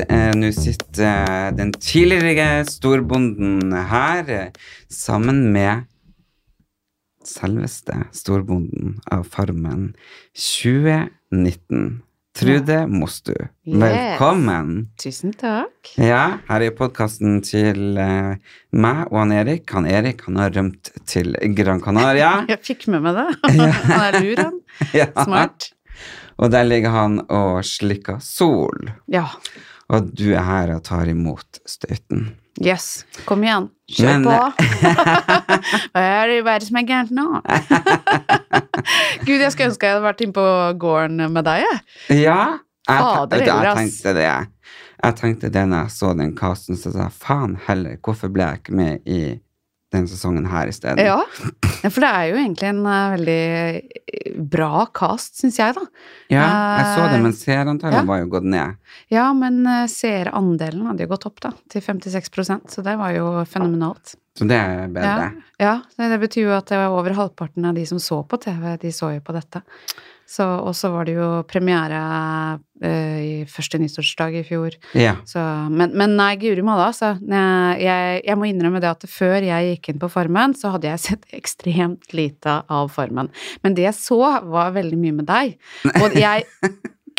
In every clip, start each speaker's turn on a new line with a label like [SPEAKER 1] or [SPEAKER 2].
[SPEAKER 1] eh, nå sitter eh, den tidligere storbonden her eh, sammen med selveste storbonden av Farmen 2019. Trude Mostu,
[SPEAKER 2] Yes.
[SPEAKER 1] velkommen.
[SPEAKER 2] Tusen takk.
[SPEAKER 1] Ja, her er podkasten til eh, meg og han Erik. Han Erik han har rømt til Gran Canaria.
[SPEAKER 2] Jeg fikk med meg det. Han er lur, han.
[SPEAKER 1] Ja.
[SPEAKER 2] Smart.
[SPEAKER 1] Og der ligger han og slikker sol.
[SPEAKER 2] Ja.
[SPEAKER 1] Og du er her og tar imot støyten.
[SPEAKER 2] Yes. Kom igjen. Kjør
[SPEAKER 1] Men- eh,
[SPEAKER 2] på. Hva er det verre som er gærent nå? Gud, jeg skulle ønske jeg hadde vært inne på gården med deg, jeg.
[SPEAKER 1] Ja, jeg, jeg,
[SPEAKER 2] Fader heller,
[SPEAKER 1] jeg
[SPEAKER 2] ass.
[SPEAKER 1] tenkte det. Jeg tenkte det når jeg så den casten, så sa jeg faen heller, hvorfor ble jeg ikke med i den sesongen her i stedet?
[SPEAKER 2] Ja. ja. For det er jo egentlig en eh, veldig eh, bra cast, syns jeg, da.
[SPEAKER 1] Ja, jeg så det,
[SPEAKER 2] Eh,
[SPEAKER 1] men seerantallet
[SPEAKER 2] ja.
[SPEAKER 1] var jo gått ned.
[SPEAKER 2] Ja, men eh, seerandelen hadde jo gått opp, da. Til 56 så det var jo fenomenalt.
[SPEAKER 1] Så det er bedre.
[SPEAKER 2] Ja, det det betyr jo at det var over halvparten av de som så på TV, de så jo på dette. Så, og så var det jo premiere eh, i første nyttårsdag i fjor.
[SPEAKER 1] Ja.
[SPEAKER 2] Så, men, men nei, guri malla, altså. Jeg, jeg, jeg må innrømme det at før jeg gikk inn på Farmen, så hadde jeg sett ekstremt lite av Farmen. Men det jeg så, var veldig mye med deg. Og jeg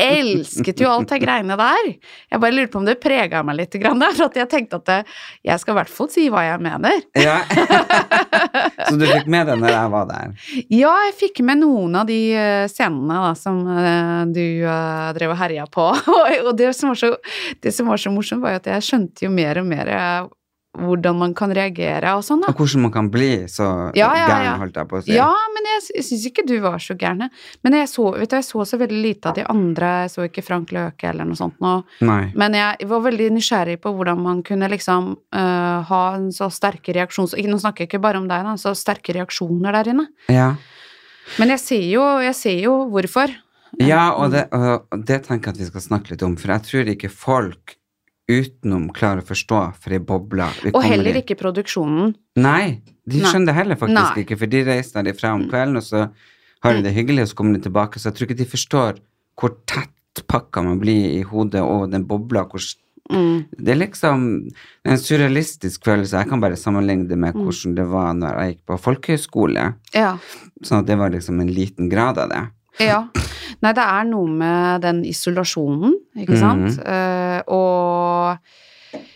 [SPEAKER 2] elsket jo alt de greiene der. Jeg bare lurte på om det prega meg litt, grann der, for at jeg tenkte at det, jeg skal i hvert fall si hva jeg mener.
[SPEAKER 1] ja. så du fikk med deg når jeg var der?
[SPEAKER 2] Ja, jeg fikk med noen av de eh, scenene da, som eh, du eh, drev og herja på. og og det, som var så, det som var så morsomt, var jo at jeg skjønte jo mer og mer eh, hvordan man kan reagere og sånn. da.
[SPEAKER 1] Og hvordan man kan bli så
[SPEAKER 2] Ja, ja, ja.
[SPEAKER 1] gæren, holdt jeg på å si.
[SPEAKER 2] Ja, men jeg sy- syns ikke du var så gæren. jeg. Men jeg så, vet du, jeg så så veldig lite av de andre. Jeg så ikke Frank Løke eller noe sånt. nå.
[SPEAKER 1] Nei.
[SPEAKER 2] Men jeg var veldig nysgjerrig på hvordan man kunne liksom eh, ha en så sterke reaksjoner Nå snakker jeg ikke bare om deg, da. Så sterke reaksjoner der inne.
[SPEAKER 1] Ja.
[SPEAKER 2] Men jeg ser jo, jeg ser jo hvorfor.
[SPEAKER 1] Ja, og det, og det tenker jeg at vi skal snakke litt om, for jeg tror ikke folk utenom klarer å forstå for ei boble vi
[SPEAKER 2] Og
[SPEAKER 1] kommer
[SPEAKER 2] heller
[SPEAKER 1] i.
[SPEAKER 2] ikke produksjonen.
[SPEAKER 1] Nei, de
[SPEAKER 2] Nei.
[SPEAKER 1] skjønner det heller faktisk
[SPEAKER 2] Nei. Mm.
[SPEAKER 1] ikke, for de reiser derifra om kvelden, og så har de det hyggelig, og så kommer de tilbake, så jeg tror ikke de forstår hvor tett pakka man blir i hodet, og den bobla, hvor s-
[SPEAKER 2] Mm.
[SPEAKER 1] det er liksom en surrealistisk følelse. Jeg kan bare sammenligne det
[SPEAKER 2] Mm.
[SPEAKER 1] med hvordan det var når jeg gikk på folkehøyskole.
[SPEAKER 2] Ja.
[SPEAKER 1] Sånn at det var liksom en liten grad av det.
[SPEAKER 2] ja. Nei, det er noe med den isolasjonen, ikke sant?
[SPEAKER 1] Mhm.
[SPEAKER 2] Eh, og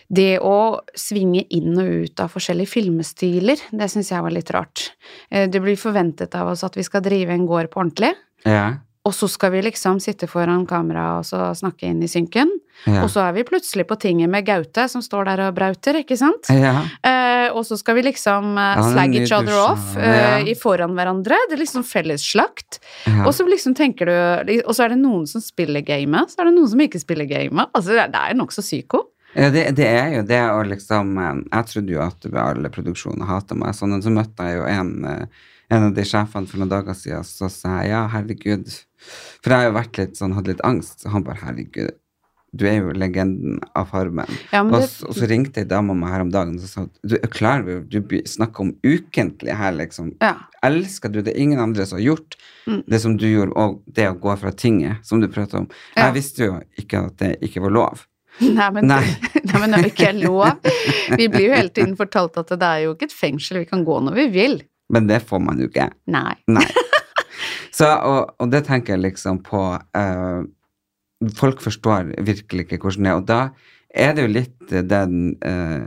[SPEAKER 2] det å svinge inn og ut av forskjellige filmstiler, det syns jeg var litt rart. Eh, det blir forventet av oss at vi skal drive en gård på ordentlig,
[SPEAKER 1] Ja,
[SPEAKER 2] og så skal vi liksom sitte foran kamera og så snakke inn i synken.
[SPEAKER 1] ja.
[SPEAKER 2] Og så er vi plutselig på tinget med Gaute som står der og brauter, ikke sant?
[SPEAKER 1] ja.
[SPEAKER 2] Eh, og så skal vi liksom eh,
[SPEAKER 1] Ja, det er
[SPEAKER 2] slag each
[SPEAKER 1] nydelig
[SPEAKER 2] other off
[SPEAKER 1] sånn,
[SPEAKER 2] eh,
[SPEAKER 1] ja.
[SPEAKER 2] i foran hverandre. Det er liksom fellesslakt.
[SPEAKER 1] ja.
[SPEAKER 2] Og så liksom tenker du Og så er det noen som spiller gamet, så er det noen som ikke spiller gamet. Altså, det er- det er nokså psyko.
[SPEAKER 1] Ja, det, det er jo det å liksom eh, Jeg trodde jo at ved alle produksjoner hata meg, sånn, men så møtte jeg jo en, eh, en av de sjefene for noen dager siden, så sa jeg ja, herregud For jeg har jo vært litt sånn, hadde litt angst. Han bare herregud, du er jo legenden av Farmen.
[SPEAKER 2] Ja, men
[SPEAKER 1] og,
[SPEAKER 2] det-
[SPEAKER 1] så, og så ringte ei dame meg her om dagen og så sa hun, du er klar over du by- snakker om ukentlig her, liksom.
[SPEAKER 2] Ja.
[SPEAKER 1] Elsker du det? er Ingen andre som har gjort
[SPEAKER 2] Mm.
[SPEAKER 1] det som du gjorde, og det å gå fra tinget, som du prater om.
[SPEAKER 2] Ja.
[SPEAKER 1] Jeg visste jo ikke at det ikke var lov.
[SPEAKER 2] Nei, men,
[SPEAKER 1] Nei.
[SPEAKER 2] Nei, men det er jo ikke lov. Vi blir jo hele tiden fortalt at det er jo ikke et fengsel, vi kan gå når vi vil.
[SPEAKER 1] Men det får man jo ikke.
[SPEAKER 2] Nei.
[SPEAKER 1] Nei. Så, og, og det tenker jeg liksom på eh, Folk forstår virkelig ikke hvordan det er. Og da er det jo litt den eh,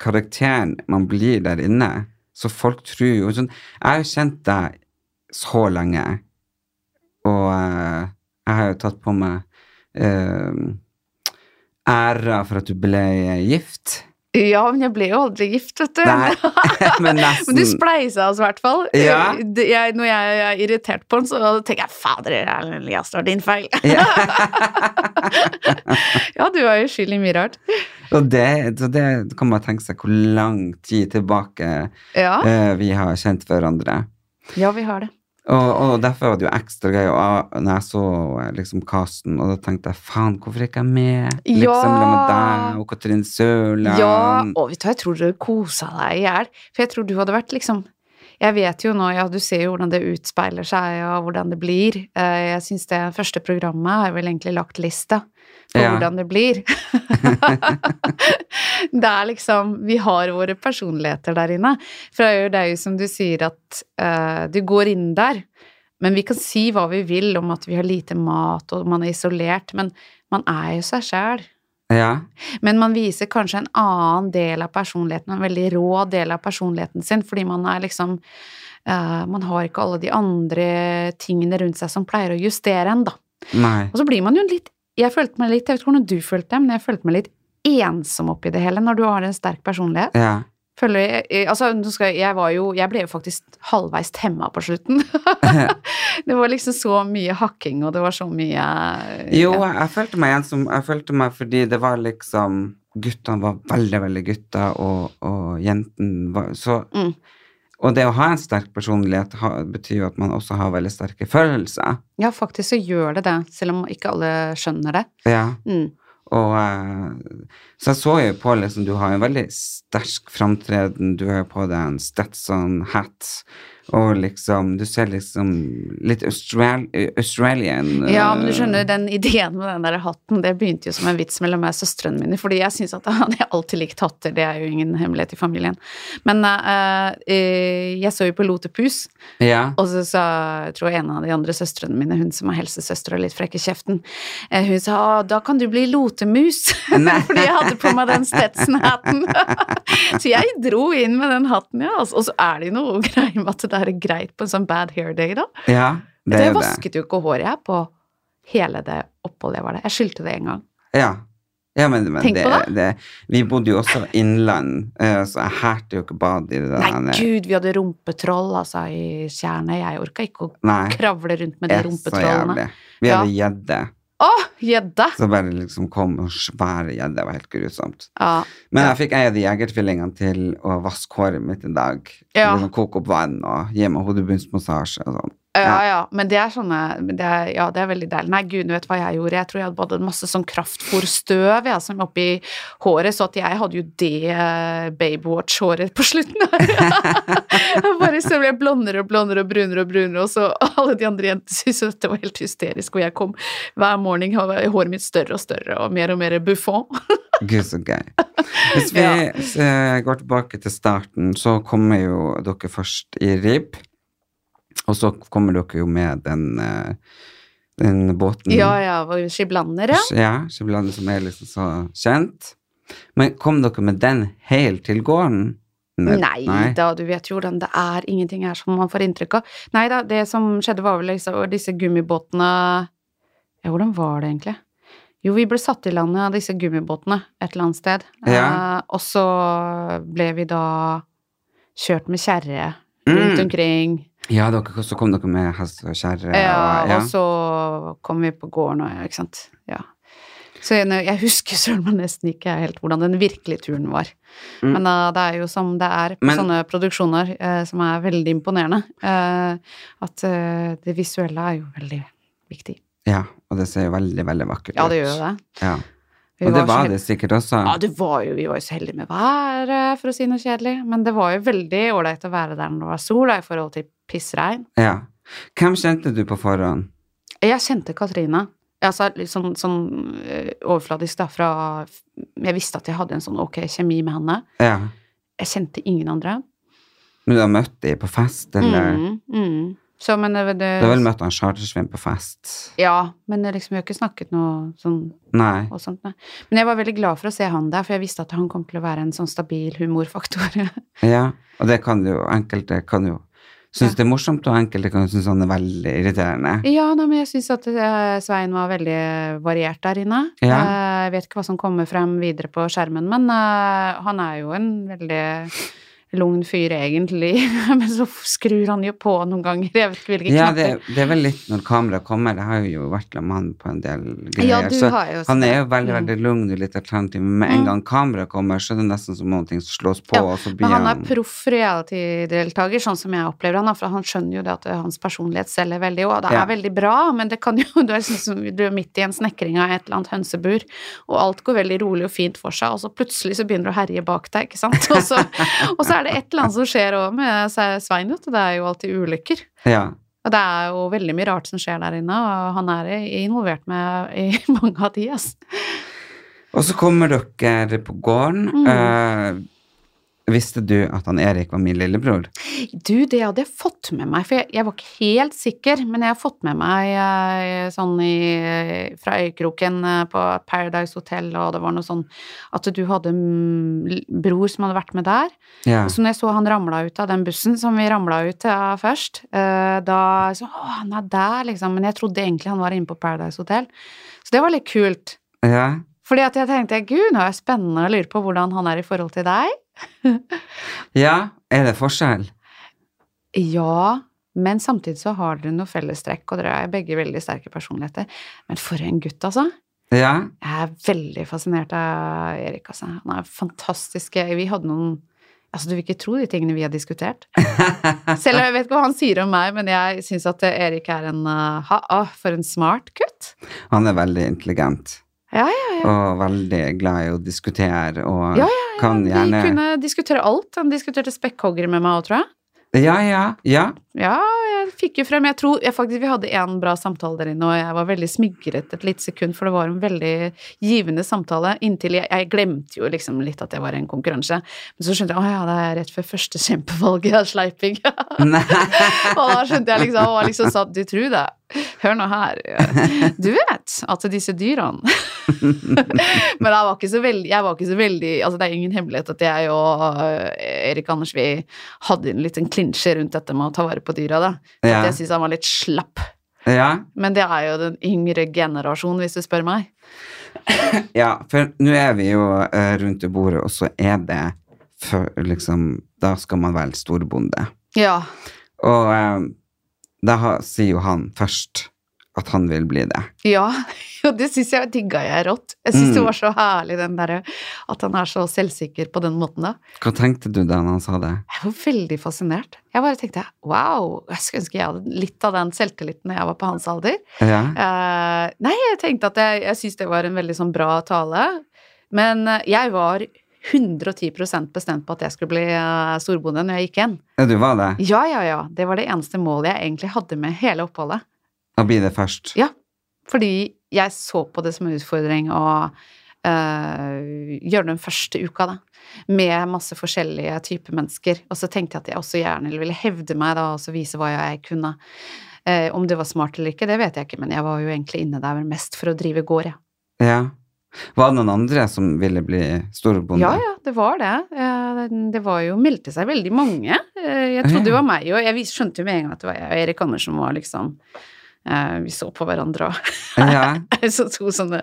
[SPEAKER 1] karakteren man eh, blir der inne, Så folk tror jo sånn, Jeg har jo kjent deg så lenge, og eh, jeg har jo tatt på meg eh, æra for at du ble gift.
[SPEAKER 2] Ja, men jeg ble jo aldri gift, vet du.
[SPEAKER 1] Nei, men nesten.
[SPEAKER 2] Men du spleisa oss i hvert fall.
[SPEAKER 1] Sånn-
[SPEAKER 2] Eh,
[SPEAKER 1] Ja.
[SPEAKER 2] Det- Jeg, når jeg er irritert på den, så tenker jeg fader, Erlend Elias, det var din feil.
[SPEAKER 1] Ja.
[SPEAKER 2] ja, du var jo skyld i mye rart.
[SPEAKER 1] Og det, så det kan man tenke seg hvor lang tid tilbake
[SPEAKER 2] Ja,
[SPEAKER 1] eh, vi har kjent hverandre.
[SPEAKER 2] ja vi har det.
[SPEAKER 1] Og, og derfor var det jo ekstra gøy og, jeg- når jeg så eh, liksom casten, og da tenkte jeg faen, hvorfor er ikke jeg med?
[SPEAKER 2] Ja.
[SPEAKER 1] Liksom la med deg og Katrin Sørland.
[SPEAKER 2] Ja, og vet du hva, jeg tror du kosa deg i hjel. For jeg tror du hadde vært liksom Jeg vet jo nå, ja, du ser jo hvordan det utspeiler seg, og hvordan det blir. Eh, Jeg syns det første programmet har jeg vel egentlig lagt lista for
[SPEAKER 1] Ja.
[SPEAKER 2] hvordan det blir. det er liksom Vi har våre personligheter der inne. For det er jo, det er jo som du sier, at eh, du går inn der. Men vi kan si hva vi vil om at vi har lite mat, og man er isolert, men man er jo seg sjæl.
[SPEAKER 1] ja.
[SPEAKER 2] Men man viser kanskje en annen del av personligheten, en veldig rå del av personligheten sin, fordi man er liksom eh, Man har ikke alle de andre tingene rundt seg som pleier å justere en, da.
[SPEAKER 1] Nei.
[SPEAKER 2] Og så blir man jo litt Jeg følte meg litt Jeg vet ikke hvordan du følte det, men jeg følte meg litt ensom oppi det hele når du har en sterk personlighet.
[SPEAKER 1] Ja.
[SPEAKER 2] Føler jeg, jeg- altså, nå skal, jeg, jeg var jo Jeg ble jo faktisk halvveis temma på slutten. det var liksom så mye hakking, og det var så mye
[SPEAKER 1] Jo, jeg, jeg følte meg ensom. Jeg følte meg fordi det var liksom Guttene var veldig, veldig gutter, og, og jentene var så
[SPEAKER 2] Mm.
[SPEAKER 1] Og det å ha en sterk personlighet ha, betyr jo at man også har veldig sterke følelser.
[SPEAKER 2] Ja, faktisk så gjør det det, selv om ikke alle skjønner det.
[SPEAKER 1] Ja.
[SPEAKER 2] Mm.
[SPEAKER 1] Og, eh, så jeg så jo på liksom, du har jo en veldig sterk framtreden, du har jo på deg en Stetson-hat, og liksom, du ser liksom litt Austral Australian eh,
[SPEAKER 2] Ja, men du skjønner, den ideen med den der hatten, det begynte jo som en vits mellom meg og søstrene mine, fordi jeg syns at han har alltid likt hatter, det er jo ingen hemmelighet i familien. Men eh, eh, jeg så jo på Lotepus,
[SPEAKER 1] eh, Ja,
[SPEAKER 2] og så sa jeg tror en av de andre søstrene mine, hun som er helsesøster og litt frekk i kjeften, eh, hun sa «Ah, 'da kan du bli lotemus', fordi jeg hadde på meg den Stetson-hatten. så jeg dro inn med den hatten, ja. altså. Og så er det jo noe greier med at det er greit på en sånn bad hair day, da.
[SPEAKER 1] ja det
[SPEAKER 2] Det
[SPEAKER 1] er
[SPEAKER 2] jeg
[SPEAKER 1] jo det.
[SPEAKER 2] vasket jo ikke håret jeg på hele det oppholdet jeg var der. Jeg skyldte det en gang.
[SPEAKER 1] Ja. Ja, men, men
[SPEAKER 2] Tenk
[SPEAKER 1] det,
[SPEAKER 2] på
[SPEAKER 1] det Vi bodde jo også innland, eh, så jeg hærte jo ikke badet i det der.
[SPEAKER 2] Nei, gud, vi hadde rumpetroll altså, i tjernet. Jeg orka ikke å
[SPEAKER 1] Nei,
[SPEAKER 2] kravle rundt med de
[SPEAKER 1] det er så
[SPEAKER 2] rumpetrollene.
[SPEAKER 1] jævlig. Vi hadde gjedde,
[SPEAKER 2] Å, gjedde!
[SPEAKER 1] så bare liksom kom og svære gjedde. Det var helt grusomt.
[SPEAKER 2] Ja.
[SPEAKER 1] Men jeg fikk ei av de jegertvillingene til å vaske håret mitt en dag.
[SPEAKER 2] Ja.
[SPEAKER 1] Liksom koke opp vann og gi meg hodebunnsmassasje og sånn.
[SPEAKER 2] ja, ja. Men det er sånne men det er, Ja, det er veldig deilig. Nei, gud, vet du hva jeg gjorde? Jeg tror jeg hadde badet masse sånn kraftfòrstøv ja, som oppi håret, så at jeg hadde jo det eh, babywatch-håret på slutten. Jeg bare så ble jeg blondere og blondere og brunere og brunere, og så alle de andre jentene syntes jo dette var helt hysterisk, og jeg kom hver morgen og var håret mitt større og større og mer og mer buffon.
[SPEAKER 1] Gud, så gøy. Hvis vi
[SPEAKER 2] Ja.
[SPEAKER 1] eh, går tilbake til starten, så kommer jo dere først i ribb. Og så kommer dere jo med den, eh, den båten
[SPEAKER 2] Ja, ja, var jo skiblander, ja.
[SPEAKER 1] ja Skibladet som er liksom så kjent. Men kom dere med den helt til gården?
[SPEAKER 2] Nei, da, du vet jo hvordan det er. Ingenting er som man får inntrykk av. Nei da, det som skjedde var vel liksom disse gummibåtene Ja, hvordan var det egentlig? Jo, vi ble satt i landet av disse gummibåtene et eller annet sted.
[SPEAKER 1] Ja.
[SPEAKER 2] Eh, og så ble vi da kjørt med kjerre rundt
[SPEAKER 1] Mm.
[SPEAKER 2] omkring.
[SPEAKER 1] Ja, dere, så kom dere med hest og kjerre.
[SPEAKER 2] Ja,
[SPEAKER 1] og- ja.
[SPEAKER 2] Eh, Og så kom vi på gården og Ikke sant. Ja. Så jeg, jeg husker søren meg nesten ikke helt hvordan den virkelige turen var.
[SPEAKER 1] Mm.
[SPEAKER 2] Men eh, det er jo som det er på
[SPEAKER 1] Men-
[SPEAKER 2] sånne produksjoner eh, som er veldig imponerende, eh, at eh, det visuelle er jo veldig viktig.
[SPEAKER 1] Ja, og det ser jo veldig, veldig vakkert ut.
[SPEAKER 2] Ja, det gjør jo det.
[SPEAKER 1] Ja.
[SPEAKER 2] Vi
[SPEAKER 1] Og det
[SPEAKER 2] så
[SPEAKER 1] var
[SPEAKER 2] heldige-
[SPEAKER 1] det sikkert også.
[SPEAKER 2] Ja, det var jo, vi var jo så heldige med været, for å si noe kjedelig. Men det var jo veldig ålreit å være der når det var sol, da, i forhold til pissregn.
[SPEAKER 1] Ja. Hvem kjente du på forhånd?
[SPEAKER 2] Jeg kjente Katrine. Altså, litt sånn, sånn eh, overfladisk da, fra Jeg visste at jeg hadde en sånn ok kjemi med henne.
[SPEAKER 1] Ja.
[SPEAKER 2] Jeg kjente ingen andre.
[SPEAKER 1] Men du har møtt dem på fest, eller?
[SPEAKER 2] Mm, mm. Så, men det, det,
[SPEAKER 1] Du har vel møtt han chartersvin på fest?
[SPEAKER 2] Ja, men det liksom, vi har ikke snakket noe sånn
[SPEAKER 1] Nei.
[SPEAKER 2] og sånt, nei. Men jeg var veldig glad for å se han der, for jeg visste at han kom til å være en sånn stabil humorfaktor.
[SPEAKER 1] Ja, og det kan jo enkelte kan jo synes
[SPEAKER 2] Ja.
[SPEAKER 1] det er morsomt, og enkelte kan synes han er veldig irriterende.
[SPEAKER 2] ja, nei, men jeg syns at eh, Svein var veldig variert der inne.
[SPEAKER 1] Ja.
[SPEAKER 2] Eh, Jeg vet ikke hva som kommer frem videre på skjermen, men eh, han er jo en veldig lugn fyr egentlig, men så skrur han jo på noen ganger. Jeg vet ikke hvilke
[SPEAKER 1] Ja, det,
[SPEAKER 2] knapper.
[SPEAKER 1] det er vel litt når kameraet kommer. Jeg har jo vært sammen med han på en del greier.
[SPEAKER 2] Ja, du
[SPEAKER 1] så
[SPEAKER 2] har jo
[SPEAKER 1] han
[SPEAKER 2] sett- Mm.
[SPEAKER 1] er jo veldig, veldig lugn og litt alternativ, men med en gang kameraet kommer, så er det nesten som om ting slås på, altså,
[SPEAKER 2] Ja,
[SPEAKER 1] og så blir
[SPEAKER 2] Men han
[SPEAKER 1] han,
[SPEAKER 2] er proff reality-deltaker, sånn som jeg opplever han. da, For han skjønner jo det at eh, hans personlighet selger veldig, og det
[SPEAKER 1] Ja.
[SPEAKER 2] er veldig bra, men det kan jo Du er, sånn som, du er midt i en snekring av et eller annet hønsebur, og alt går veldig rolig og fint for seg, og så plutselig så begynner du å herje bak deg, ikke sant? Og så, og så er det et eller annet som skjer òg med Se- Svein, vet du. Det er jo alltid ulykker.
[SPEAKER 1] Ja.
[SPEAKER 2] Og det er jo veldig mye rart som skjer der inne, og han er i- involvert med i mange av de, altså. ass.
[SPEAKER 1] Og så kommer dere på gården.
[SPEAKER 2] Mm.
[SPEAKER 1] Eh, visste du at han Erik var min lillebror?
[SPEAKER 2] Du, det hadde jeg fått med meg, for jeg, jeg var ikke helt sikker, men jeg har fått med meg eh, sånn i, fra øykroken eh, på Paradise Hotel, og det var noe sånn at du hadde mm, l- bror som hadde vært med der.
[SPEAKER 1] Ja.
[SPEAKER 2] Så når jeg så han ramla ut av den bussen som vi ramla ut av først, eh, da så Å, han er der, liksom. Men jeg trodde egentlig han var inne på Paradise Hotel. Så det var litt kult.
[SPEAKER 1] ja.
[SPEAKER 2] Fordi at jeg tenkte, gud, nå er det spennende å lure på hvordan han er i forhold til deg.
[SPEAKER 1] Ja, er det forskjell?
[SPEAKER 2] Ja, men samtidig så har dere noe fellestrekk, og dere er begge veldig sterke personligheter. Men for en gutt, altså.
[SPEAKER 1] Ja.
[SPEAKER 2] Jeg er veldig fascinert av Erik, altså. Han er fantastisk. Vi hadde noen Altså, du vil ikke tro de tingene vi har diskutert. Selv om jeg vet ikke hva han sier om meg, men jeg syns at Erik er en uh, ha, ah, For en smart gutt.
[SPEAKER 1] Han er veldig intelligent.
[SPEAKER 2] Ja, ja, ja.
[SPEAKER 1] Og veldig glad i å diskutere og
[SPEAKER 2] Ja, ja,
[SPEAKER 1] kan
[SPEAKER 2] Vi
[SPEAKER 1] gjerne
[SPEAKER 2] kunne diskutere alt. Han diskuterte spekkhoggere med meg òg, tror jeg.
[SPEAKER 1] Ja, ja, ja.
[SPEAKER 2] Ja, jeg fikk jo frem Jeg tror jeg faktisk vi hadde en bra samtale der inne, og jeg var veldig smigret et lite sekund, for det var en veldig givende samtale. Inntil jeg, jeg glemte jo liksom litt at det var en konkurranse. Men så skjønte jeg å ja, det er rett før første kjempevalget av sleiping.
[SPEAKER 1] Nei.
[SPEAKER 2] og da skjønte jeg liksom, og liksom sa du tror det. Hør nå her. Du vet at disse dyrene Men jeg var ikke så veldig, jeg var ikke så veldig altså Det er ingen hemmelighet at jeg og eh, Erik Anders vi hadde en liten klinsje rundt dette med å ta vare på dyra. da. For
[SPEAKER 1] Ja.
[SPEAKER 2] At jeg syns han var litt slapp.
[SPEAKER 1] ja.
[SPEAKER 2] Men det er jo den yngre generasjonen, hvis du spør meg.
[SPEAKER 1] Ja, for nå er vi jo eh, rundt i bordet, og så er det for, liksom Da skal man være storbonde.
[SPEAKER 2] Ja.
[SPEAKER 1] Og eh, da har, sier jo han først at han vil bli det.
[SPEAKER 2] Ja, og det syns jeg digga jeg rått. Jeg syns det
[SPEAKER 1] Mm.
[SPEAKER 2] var så herlig den derre at han er så selvsikker på den måten, da.
[SPEAKER 1] Hva tenkte du da han sa det?
[SPEAKER 2] Jeg var veldig fascinert. Jeg bare tenkte wow, jeg skulle ønske jeg hadde litt av den selvtilliten når jeg var på hans alder.
[SPEAKER 1] Ja.
[SPEAKER 2] Eh, nei, jeg tenkte at jeg, jeg syns det var en veldig sånn bra tale. Men eh, jeg var 110 bestemt på at jeg skulle bli eh, storbonde når jeg gikk igjen.
[SPEAKER 1] ja, du var det?
[SPEAKER 2] Ja, ja, ja. Det var det eneste målet jeg egentlig hadde med hele oppholdet.
[SPEAKER 1] Da blir det først.
[SPEAKER 2] Ja, fordi jeg så på det som en utfordring å eh, gjøre den første uka, da. Med masse forskjellige typer mennesker. Og så tenkte jeg at jeg også gjerne ville hevde meg, da, og så vise hva jeg kunne. Eh, om det var smart eller ikke, det vet jeg ikke, men jeg var jo egentlig inne der mest for å drive gård, jeg.
[SPEAKER 1] Ja. Var det noen andre som ville bli storbonde?
[SPEAKER 2] Ja, ja, det var det. Eh, Det var jo, meldte seg veldig mange. Eh, Jeg trodde det var meg, og jeg vis- skjønte jo med en gang at det var jeg og Erik Andersen var liksom eh, Vi så på hverandre og
[SPEAKER 1] ja.
[SPEAKER 2] så to sånne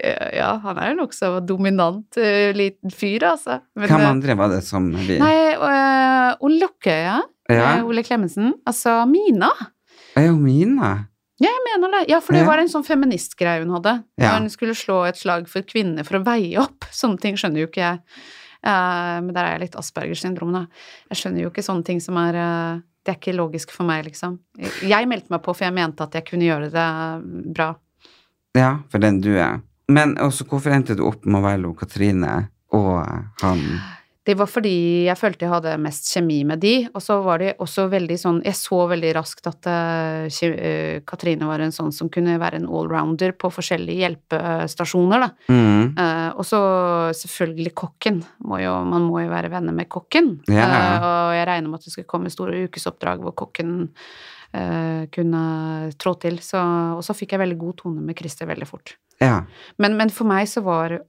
[SPEAKER 2] eh, Ja, han er jo nokså dominant eh, liten fyr, altså. Men,
[SPEAKER 1] Hvem
[SPEAKER 2] eh,
[SPEAKER 1] andre var det som vi
[SPEAKER 2] Nei, eh, Ole Løkkøye.
[SPEAKER 1] Ja.
[SPEAKER 2] eh, Ole Klemetsen. Altså Mina,
[SPEAKER 1] Er jo mine.
[SPEAKER 2] jeg mener det. Ja, for det
[SPEAKER 1] Ja.
[SPEAKER 2] var en sånn feministgreie hun hadde.
[SPEAKER 1] Ja.
[SPEAKER 2] Når hun skulle slå et slag for kvinner for å veie opp. Sånne ting skjønner jo ikke jeg. Eh, men der er jeg litt Aspergers syndrom, da. Jeg skjønner jo ikke sånne ting som er eh, Det er ikke logisk for meg, liksom. Jeg meldte meg på, for jeg mente at jeg kunne gjøre det eh, bra.
[SPEAKER 1] Ja, for den du er. Men også, hvorfor endte du opp med å være Lo Katrine og han?
[SPEAKER 2] Det var fordi jeg følte jeg hadde mest kjemi med de, og så var det også veldig sånn Jeg så veldig raskt at eh, kje- eh, Katrine var en sånn som kunne være en allrounder på forskjellige hjelpestasjoner, da.
[SPEAKER 1] Mm.
[SPEAKER 2] Eh, og så selvfølgelig kokken. Må jo, man må jo være venner med kokken.
[SPEAKER 1] Ja.
[SPEAKER 2] Eh, og jeg regner med at det skulle komme store ukesoppdrag hvor kokken eh, kunne trå til. Så, og så fikk jeg veldig god tone med Christer veldig fort.
[SPEAKER 1] Ja.
[SPEAKER 2] Men, men for meg så var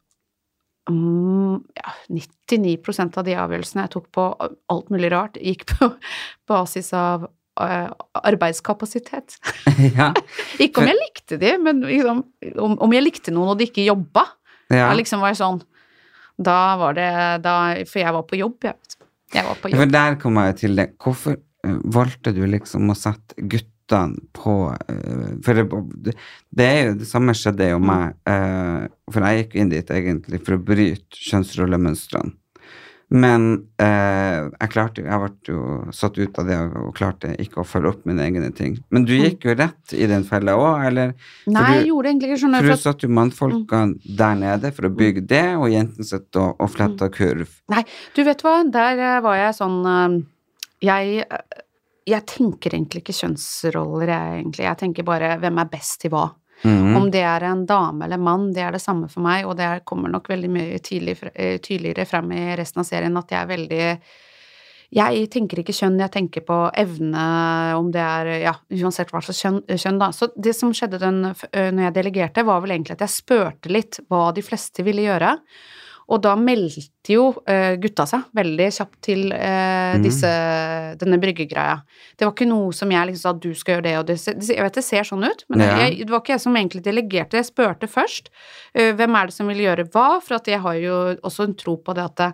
[SPEAKER 2] mm, ja, 99 av de avgjørelsene jeg tok på alt mulig rart, gikk på basis av eh, arbeidskapasitet.
[SPEAKER 1] ja.
[SPEAKER 2] Ikke om jeg likte de, men liksom, om, om jeg likte noen og de ikke jobba.
[SPEAKER 1] ja.
[SPEAKER 2] Da liksom var jeg sånn Da var det da, For jeg var på jobb, jeg vet. Jeg var på
[SPEAKER 1] For
[SPEAKER 2] jobb.
[SPEAKER 1] der kommer jeg til det. Hvorfor eh, valgte du liksom å sette guttene på eh, For det, det er jo det samme skjedde jo meg. eh, For jeg gikk jo inn dit egentlig for å bryte kjønnsrollemønstrene. Men eh, jeg klarte jo Jeg ble jo satt ut av det og og klarte ikke å følge opp mine egne ting. Men du gikk jo rett i den fella òg, eller? For
[SPEAKER 2] Nei,
[SPEAKER 1] du-
[SPEAKER 2] jeg gjorde egentlig ikke sånn.
[SPEAKER 1] for
[SPEAKER 2] For
[SPEAKER 1] du
[SPEAKER 2] at, Mm.
[SPEAKER 1] satt jo mannfolkene der nede for å bygge det, og jentene satt og, og fletta kurv.
[SPEAKER 2] nei, du vet hva, der eh, var jeg sånn eh, Jeg eh, jeg tenker egentlig ikke kjønnsroller, jeg egentlig. Jeg tenker bare hvem er best til hva.
[SPEAKER 1] Mhm.
[SPEAKER 2] Om det er en dame eller mann, det er det samme for meg, og det er- kommer nok veldig mye tydelig, fr- eh, tydeligere frem i resten av serien at jeg er veldig Jeg tenker ikke kjønn, jeg tenker på evne, om det er Ja, uansett hva slags kjønn, kjønn da. Så det som skjedde den, f- eh, når jeg delegerte, var vel egentlig at jeg spurte litt hva de fleste ville gjøre. Og da meldte jo eh, gutta seg veldig kjapt til
[SPEAKER 1] Mhm.
[SPEAKER 2] eh, disse, denne bryggegreia. Det var ikke noe som jeg liksom sa du skal gjøre det og det. Jeg vet det ser sånn ut, men
[SPEAKER 1] Ja.
[SPEAKER 2] jeg, det var ikke jeg som egentlig delegerte. Jeg spurte først eh, hvem er det som vil gjøre hva, for at jeg har jo også en tro på det at det,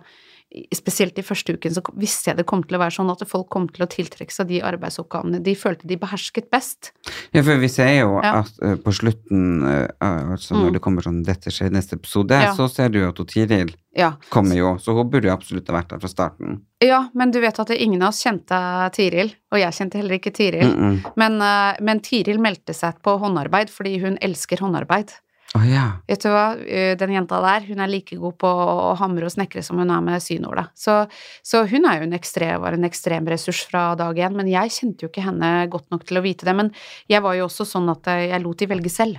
[SPEAKER 2] Spesielt i første uken så kom- visste jeg det kom til å være sånn at folk kom til å tiltrekke seg de arbeidsoppgavene de følte de behersket best.
[SPEAKER 1] Ja, for vi ser jo
[SPEAKER 2] Ja.
[SPEAKER 1] at eh, på slutten, eh, altså når
[SPEAKER 2] Mm.
[SPEAKER 1] det kommer sånn 'dette skjer i neste episode',
[SPEAKER 2] Ja.
[SPEAKER 1] så ser du jo at hun Tiril
[SPEAKER 2] Ja.
[SPEAKER 1] kommer jo, så hun burde jo absolutt ha vært der fra starten.
[SPEAKER 2] ja, men du vet at ingen av oss kjente Tiril, og jeg kjente heller ikke Tiril.
[SPEAKER 1] Mm -mm.
[SPEAKER 2] Men, eh, men Tiril meldte seg på håndarbeid fordi hun elsker håndarbeid.
[SPEAKER 1] Å ja.
[SPEAKER 2] Vet du hva, Eh, den jenta der, hun er like god på å hamre og snekre som hun er med synåla. Så, så hun er jo en ekstrem, var en ekstrem ressurs fra dag én, men jeg kjente jo ikke henne godt nok til å vite det. Men jeg var jo også sånn at eh, jeg lot de velge selv.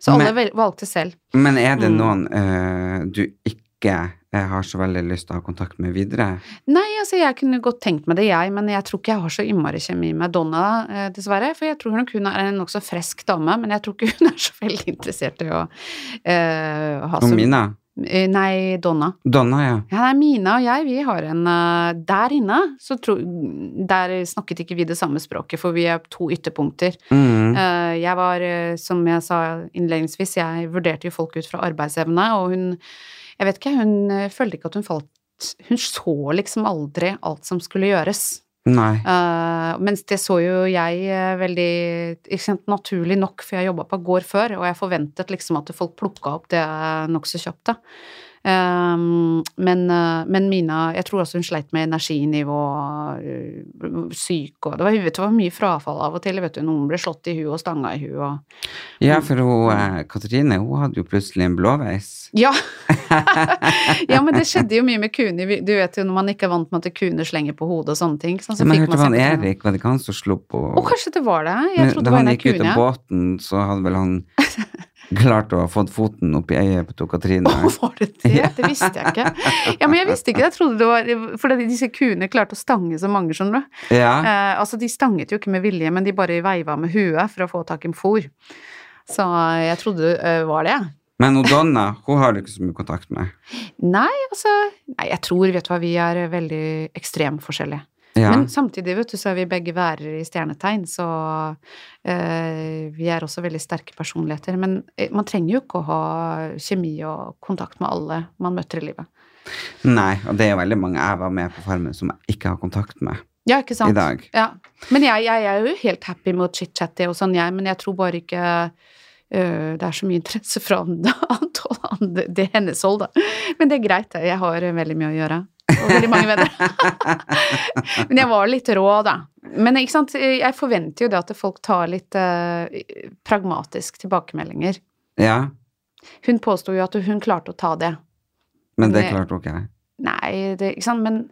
[SPEAKER 2] Så alle vel- valgte selv.
[SPEAKER 1] Men er det
[SPEAKER 2] Mm.
[SPEAKER 1] noen eh, du ikke eh, har så veldig lyst til å ha kontakt med videre?
[SPEAKER 2] Nei, altså jeg kunne godt tenkt meg det, jeg, men jeg tror ikke jeg har så innmari kjemi med Donna, eh, dessverre. For jeg tror nok hun er en nokså frisk dame, men jeg tror ikke hun er så veldig interessert i å eh, ha
[SPEAKER 1] Og
[SPEAKER 2] så
[SPEAKER 1] Mina?
[SPEAKER 2] Eh, Nei, Donna.
[SPEAKER 1] Donna, ja.
[SPEAKER 2] Ja, nei, Mina og jeg, vi har en eh, Der inne, så tro, der snakket ikke vi det samme språket, for vi er to ytterpunkter.
[SPEAKER 1] Mm.
[SPEAKER 2] Eh, Jeg var, eh, som jeg sa innledningsvis, jeg vurderte jo folk ut fra arbeidsevne, og hun Jeg vet ikke, hun eh, følte ikke at hun falt Hun så liksom aldri alt som skulle gjøres.
[SPEAKER 1] Nei.
[SPEAKER 2] Eh, mens det så jo jeg eh, veldig ikke sant, naturlig nok, for jeg jobba på gård før, og jeg forventet liksom at folk plukka opp det nokså kjapt, da. Ehm, men, eh, men Mina Jeg tror også hun sleit med energinivå, eh, syk og det var, vet, du, det var mye frafall av og til. Vet du, noen ble slått i huet og stanga i huet og
[SPEAKER 1] Ja, for hun, eh, Katrine hun hadde jo plutselig en blåveis.
[SPEAKER 2] Ja! ja, men det skjedde jo mye med kuene. Vi- Du vet jo når man ikke er vant med at kuene slenger på hodet og sånne ting. Sånn, så
[SPEAKER 1] Men jeg
[SPEAKER 2] fikk
[SPEAKER 1] hørte det var
[SPEAKER 2] man
[SPEAKER 1] han
[SPEAKER 2] seg på-
[SPEAKER 1] Erik, var det ikke han som slo på
[SPEAKER 2] Å, kanskje det var det. Jeg
[SPEAKER 1] Men
[SPEAKER 2] trodde
[SPEAKER 1] da
[SPEAKER 2] det var
[SPEAKER 1] han
[SPEAKER 2] en av
[SPEAKER 1] gikk ut
[SPEAKER 2] kuene.
[SPEAKER 1] av båten, så hadde vel han klart å ha fått foten opp i øyet på Katrine.
[SPEAKER 2] Å, var det det? Det visste jeg ikke. Ja, men jeg visste ikke det. Jeg trodde det var For disse kuene klarte å stange så mange, skjønner du.
[SPEAKER 1] Ja.
[SPEAKER 2] Eh, altså, de stanget jo ikke med vilje, men de bare veiva med huet for å få tak i fôr. Så eh, jeg trodde det eh, var det.
[SPEAKER 1] Men hun Donna hun har du ikke så mye kontakt med.
[SPEAKER 2] Nei, altså Nei, jeg tror, vet du hva, vi er eh, veldig ekstremforskjellige.
[SPEAKER 1] Ja.
[SPEAKER 2] Men samtidig, vet du, så er vi begge værer i stjernetegn, så eh, vi er også veldig sterke personligheter. Men eh, man trenger jo ikke å ha kjemi og kontakt med alle man møter i livet.
[SPEAKER 1] Nei, og det er jo veldig mange jeg var med på Farmen som jeg ikke har kontakt med
[SPEAKER 2] Ja, ikke sant?
[SPEAKER 1] i dag.
[SPEAKER 2] Ja. Men jeg, jeg, er jo helt happy med å chit-chatte og sånn, jeg, men jeg tror bare ikke øh, det er så mye interesse fra det annet hold, an- det- det er hennes hold, da. Men det er greit, det. Jeg har eh, veldig mye å gjøre. Og veldig mange venner. men jeg var litt rå, da. Men ikke sant, jeg forventer jo det at folk tar litt øh, pragmatisk tilbakemeldinger.
[SPEAKER 1] Ja,
[SPEAKER 2] Hun påsto jo at hun klarte å ta det.
[SPEAKER 1] men det
[SPEAKER 2] Nei.
[SPEAKER 1] klarte hun ikke.
[SPEAKER 2] Nei, det, ikke sant, men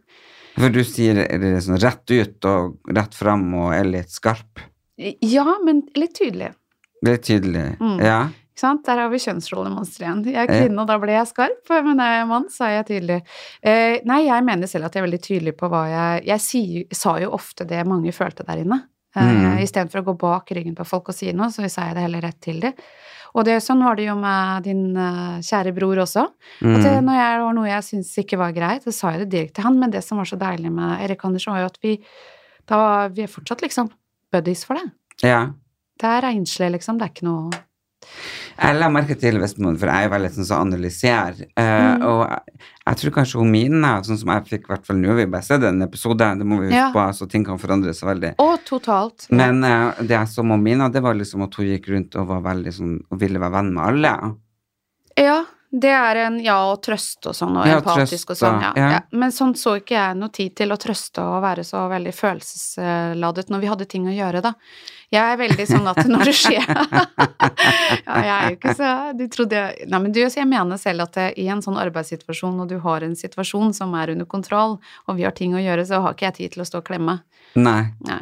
[SPEAKER 1] For du sier det er sånn rett ut og rett fram og er litt skarp.
[SPEAKER 2] Ja, men litt tydelig.
[SPEAKER 1] Det er tydelig.
[SPEAKER 2] Mm.
[SPEAKER 1] Ja.
[SPEAKER 2] Ikke sant? Der har vi kjønnsrollemønsteret igjen. Jeg er
[SPEAKER 1] Ja.
[SPEAKER 2] kvinne, og da ble jeg skarp, men er jeg mann, så er jeg tydelig. Eh, nei, jeg mener selv at jeg er veldig tydelig på hva jeg Jeg sier, sa jo ofte det mange følte der inne. Eh, Mm. Istedenfor å gå bak ryggen på folk og si noe, så sa jeg det heller rett til dem. Og det, sånn var det jo med din eh, kjære bror også. At
[SPEAKER 1] Mm.
[SPEAKER 2] det, når jeg, det var noe jeg syntes ikke var greit, så sa jeg det direkte til han. Men det som var så deilig med Erik Andersen, var jo at vi, da, vi er fortsatt liksom buddies for det.
[SPEAKER 1] Ja.
[SPEAKER 2] Det er renslig, liksom. Det er ikke noe
[SPEAKER 1] Jeg la merke til Vestmoen, for jeg er jo veldig sånn som analyserer. eh,
[SPEAKER 2] Mm.
[SPEAKER 1] Og jeg, jeg tror kanskje hun Mina, sånn som jeg fikk i hvert fall nå, vi bare ser den episoden, det må vi huske
[SPEAKER 2] Ja.
[SPEAKER 1] på, altså ting kan forandre seg veldig.
[SPEAKER 2] Å, totalt.
[SPEAKER 1] Men eh, det jeg så med Mina, det var liksom at hun gikk rundt og var veldig sånn, og ville være venn med alle.
[SPEAKER 2] Ja, det er en ja og trøst og sånn, og
[SPEAKER 1] Ja,
[SPEAKER 2] empatisk og
[SPEAKER 1] trøst og-
[SPEAKER 2] sånn. Ja,
[SPEAKER 1] ja.
[SPEAKER 2] ja. Men sånn så ikke jeg noe tid til å trøste og være så veldig følelsesladet når vi hadde ting å gjøre, da. Jeg er veldig sånn at når det skjer Ja, jeg er jo ikke så Du trodde jeg Nei, men du, så jeg mener selv at eh, i en sånn arbeidssituasjon, og du har en situasjon som er under kontroll, og vi har ting å gjøre, så har ikke jeg tid til å stå og klemme.
[SPEAKER 1] Nei.
[SPEAKER 2] Nei.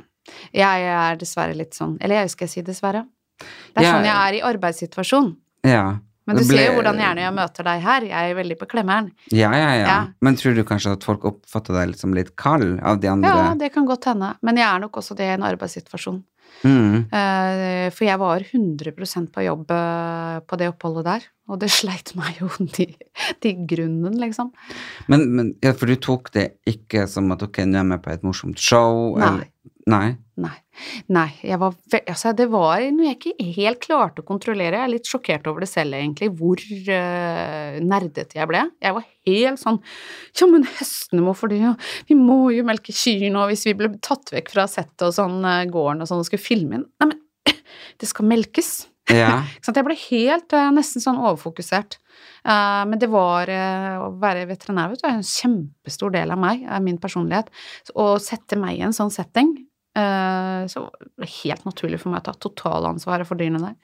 [SPEAKER 2] Jeg er dessverre litt sånn Eller jeg skal jeg si dessverre. Det er
[SPEAKER 1] Ja.
[SPEAKER 2] sånn jeg er i arbeidssituasjon.
[SPEAKER 1] Ja.
[SPEAKER 2] Men du
[SPEAKER 1] Det ble-
[SPEAKER 2] ser jo hvordan gjerne jeg møter deg her. Jeg er veldig på klemmeren.
[SPEAKER 1] Ja, ja, ja,
[SPEAKER 2] Ja.
[SPEAKER 1] Men tror du kanskje at folk oppfatter deg litt som litt kald av de andre?
[SPEAKER 2] Ja, Mm, det kan godt hende. Men jeg er nok også det i en arbeidssituasjon.
[SPEAKER 1] Mm.
[SPEAKER 2] Eh, For jeg var 100 på jobb eh, på det oppholdet der. Og det sleit meg jo til, til grunnen, liksom.
[SPEAKER 1] Men, men ja, for du tok det ikke som at ok, nå er jeg med på et morsomt show?
[SPEAKER 2] Nei.
[SPEAKER 1] Eller, nei.
[SPEAKER 2] Nei. Nei jeg var ve altså, det var noe jeg ikke helt klarte å kontrollere. Jeg er litt sjokkert over det selv, egentlig, hvor eh, nerdete jeg ble. Jeg var helt sånn Ja, men hestene må for det, ja. Vi må jo melke kyrne, og hvis vi ble tatt vekk fra settet og sånn, eh, gården og sånn, og skulle filme inn Nei, men det skal melkes.
[SPEAKER 1] Ja.
[SPEAKER 2] Ikke sant? Jeg ble helt eh, nesten sånn overfokusert. Eh, men det var eh, å være veterinær vet du, er en kjempestor del av meg, av min personlighet. Så Å sette meg i en sånn setting eh, så var det helt naturlig for meg å ta totalansvaret for dyrene der.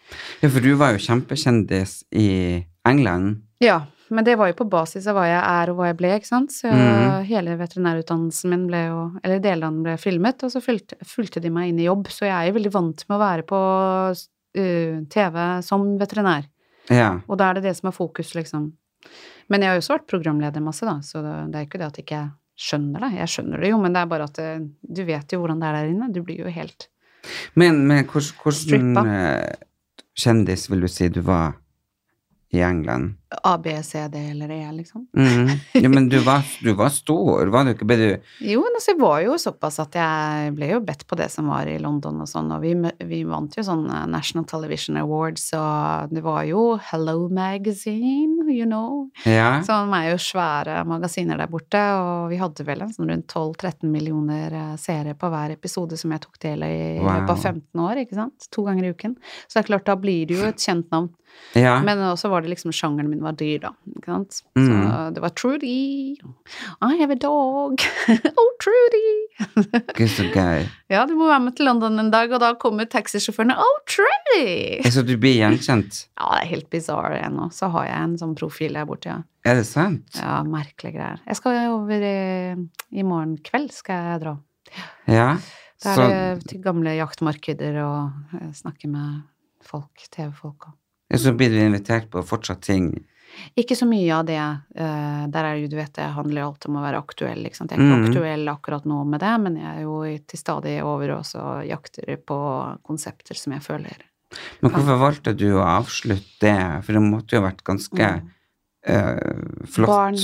[SPEAKER 1] ja, for du var jo kjempekjendis i England.
[SPEAKER 2] Ja, men det var jo på basis av hva jeg er og hva jeg ble, ikke sant. Så
[SPEAKER 1] Mhm.
[SPEAKER 2] hele veterinærutdannelsen min ble jo, eller deler av den ble filmet, og så fulgte, fulgte de meg inn i jobb. Så jeg er jo veldig vant med å være på eh, TV som veterinær.
[SPEAKER 1] Ja.
[SPEAKER 2] Og da er det det som er fokus, liksom. Men jeg har jo også vært programleder masse, da, så det det er ikke det at jeg ikke skjønner det. Jeg skjønner det jo, men det er bare at eh, du vet jo hvordan det er der inne. Du blir jo helt
[SPEAKER 1] Men, men hvordan, hvordan
[SPEAKER 2] Strippa.
[SPEAKER 1] eh, kjendis vil du si du var i England?
[SPEAKER 2] A, B, C, D eller E, liksom.
[SPEAKER 1] Mm. Ja, men du var, du var stor, var du ikke? Ble du
[SPEAKER 2] Jo, men altså, jeg var jo såpass at jeg ble jo bedt på det som var i London og sånn, og vi, mø- vi vant jo sånn eh, National Television Awards, og det var jo Hello Magazine, you know.
[SPEAKER 1] Ja.
[SPEAKER 2] Så de er jo svære magasiner der borte, og vi hadde vel en sånn rundt 12-13 millioner eh, seere på hver episode som jeg tok del i i
[SPEAKER 1] Wow.
[SPEAKER 2] løpet av 15 år, ikke sant? To ganger i uken. Så det er klart, da blir det jo et kjent navn.
[SPEAKER 1] ja.
[SPEAKER 2] Men også var det liksom sjangeren min var dyr, da. Ikke sant? Så
[SPEAKER 1] Mm.
[SPEAKER 2] det var Trudy, I have a dog, oh Trudy.
[SPEAKER 1] Gud, så gøy.
[SPEAKER 2] ja, du må være med til London en dag, og da kommer taxisjåførene, oh Trudy.
[SPEAKER 1] Så du blir gjenkjent?
[SPEAKER 2] Ja, det er helt bizarre ennå. Så har jeg en sånn profil der borte, ja.
[SPEAKER 1] Er det sant?
[SPEAKER 2] Ja, merkelige greier. Jeg skal over i, i morgen kveld, skal jeg dra.
[SPEAKER 1] Ja.
[SPEAKER 2] Da
[SPEAKER 1] Så,
[SPEAKER 2] er det til gamle jaktmarkeder og eh, snakke med folk, TV-folk og
[SPEAKER 1] ja, så blir du invitert på fortsatt ting.
[SPEAKER 2] Ikke så mye av det. eh, Der er det jo, du vet, det handler jo alt om å være aktuell, ikke sant. Jeg er ikke
[SPEAKER 1] Mhm.
[SPEAKER 2] aktuell akkurat nå med det, men jeg er jo i- til stadig over og så jakter på konsepter som jeg føler
[SPEAKER 1] Men hvorfor valgte du å avslutte det? For det måtte jo ha vært ganske eh, flott.
[SPEAKER 2] Mm. Barn.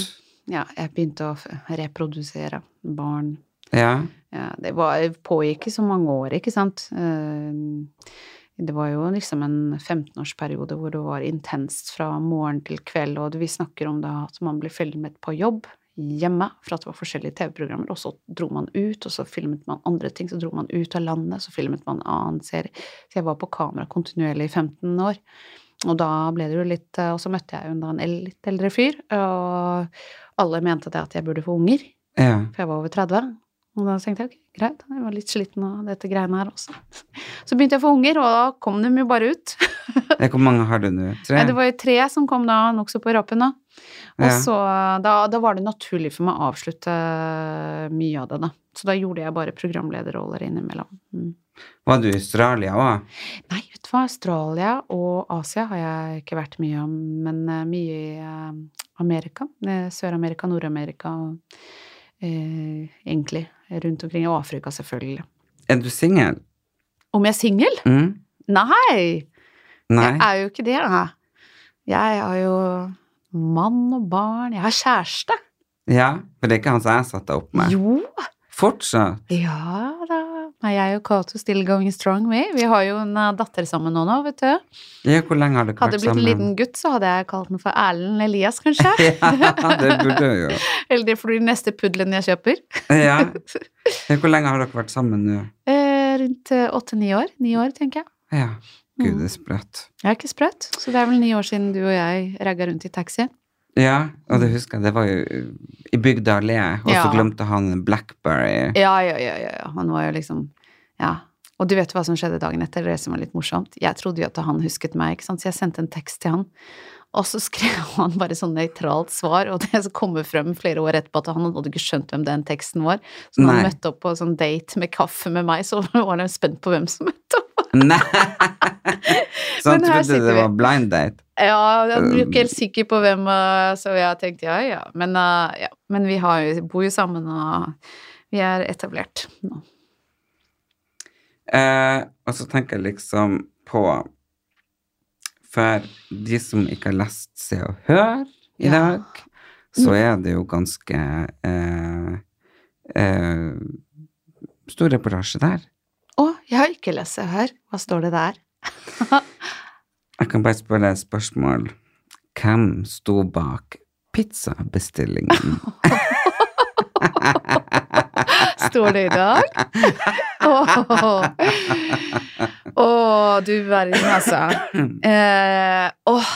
[SPEAKER 2] Ja, jeg begynte å f- reprodusere barn.
[SPEAKER 1] Ja.
[SPEAKER 2] Ja, det var, pågikk i så mange år, ikke sant. Eh, Det var jo liksom en 15-årsperiode hvor det var intenst fra morgen til kveld, og vi snakker om da at man blir filmet på jobb hjemme, for at det var forskjellige TV-programmer, og så dro man ut, og så filmet man andre ting, så dro man ut av landet, så filmet man annen serie. Så jeg var på kamera kontinuerlig i 15 år. Og da ble det jo litt eh, Og så møtte jeg jo da en el- litt eldre fyr, og alle mente det at jeg burde få unger
[SPEAKER 1] ja.
[SPEAKER 2] for jeg var over 30. Og da tenkte jeg ok, greit, jeg var litt sliten av dette greiene her også. Så begynte jeg å få unger, og da kom de jo bare ut.
[SPEAKER 1] Ja, Hvor mange har du nå? Tre?
[SPEAKER 2] Nei, det var jo tre som kom da nokså på rappen, da. Og
[SPEAKER 1] Ja.
[SPEAKER 2] så da, da var det naturlig for meg å avslutte eh, mye av det, da. Så da gjorde jeg bare programlederroller innimellom. Mm.
[SPEAKER 1] Var du i Australia òg?
[SPEAKER 2] Nei, vet du hva, Australia og Asia har jeg ikke vært mye om, men eh, mye i eh, Amerika. eh, Sør-Amerika, Nord-Amerika, eh, egentlig rundt omkring. Og Afrika, selvfølgelig.
[SPEAKER 1] Er du singel?
[SPEAKER 2] Om jeg er singel?
[SPEAKER 1] Mm.
[SPEAKER 2] Nei!
[SPEAKER 1] Nei.
[SPEAKER 2] Jeg er jo ikke det. da. Jeg har jo mann og barn. Jeg har kjæreste.
[SPEAKER 1] Ja, for det er ikke han som jeg satte deg opp med.
[SPEAKER 2] Jo.
[SPEAKER 1] Fortsatt.
[SPEAKER 2] Ja da. Nei, jeg og Cato still going strong, vi. Vi har jo en eh, datter sammen nå, nå, vet du.
[SPEAKER 1] Ja, hvor lenge har dere
[SPEAKER 2] Hadde
[SPEAKER 1] vært
[SPEAKER 2] det blitt en liten
[SPEAKER 1] sammen?
[SPEAKER 2] gutt, så hadde jeg kalt den for Erlend Elias, kanskje.
[SPEAKER 1] Ja, det burde jo.
[SPEAKER 2] Eller det blir den neste puddelen jeg kjøper.
[SPEAKER 1] Ja. ja. Hvor lenge har dere vært sammen nå?
[SPEAKER 2] Eh, rundt åtte-ni år. Ni år, tenker jeg.
[SPEAKER 1] Ja. Gud,
[SPEAKER 2] Mm.
[SPEAKER 1] det er sprøtt.
[SPEAKER 2] Jeg er ikke sprøtt, så det er vel ni år siden du og jeg ragga rundt i taxi.
[SPEAKER 1] Ja, og det husker jeg, det var jo i Bygda allé, og så
[SPEAKER 2] Ja.
[SPEAKER 1] glemte han Blackberry.
[SPEAKER 2] Ja, ja, ja, ja, ja. Han var jo liksom Ja. Og du vet hva som skjedde dagen etter, det som var litt morsomt. Jeg trodde jo at han husket meg, ikke sant, så jeg sendte en tekst til han. Og så skrev han bare sånn nøytralt svar, og det som kommer frem flere år etterpå, at han hadde ikke skjønt hvem den teksten var. Så når han
[SPEAKER 1] Nei.
[SPEAKER 2] møtte opp på sånn date med kaffe med meg, så var han spent på hvem som møtte opp.
[SPEAKER 1] Nei! Så han
[SPEAKER 2] Men her
[SPEAKER 1] trodde
[SPEAKER 2] sitter
[SPEAKER 1] det
[SPEAKER 2] vi.
[SPEAKER 1] var blind date.
[SPEAKER 2] Ja, jeg er jo ikke helt sikker på hvem, eh, så jeg tenkte ja, ja. Men, eh, ja. Men vi har jo, bor jo sammen, og vi er etablert nå.
[SPEAKER 1] Eh, og så tenker jeg liksom på For de som ikke har lest Se og Hør i
[SPEAKER 2] Ja.
[SPEAKER 1] dag, så er det jo ganske eh, eh, Stor reportasje der.
[SPEAKER 2] Å, jeg har ikke lest det her. Hva står det der?
[SPEAKER 1] Jeg kan bare spørre et spørsmål. Hvem sto bak pizzabestillingen?
[SPEAKER 2] Står det i dag? Åh, Åh, du verden, altså. Eh, åh,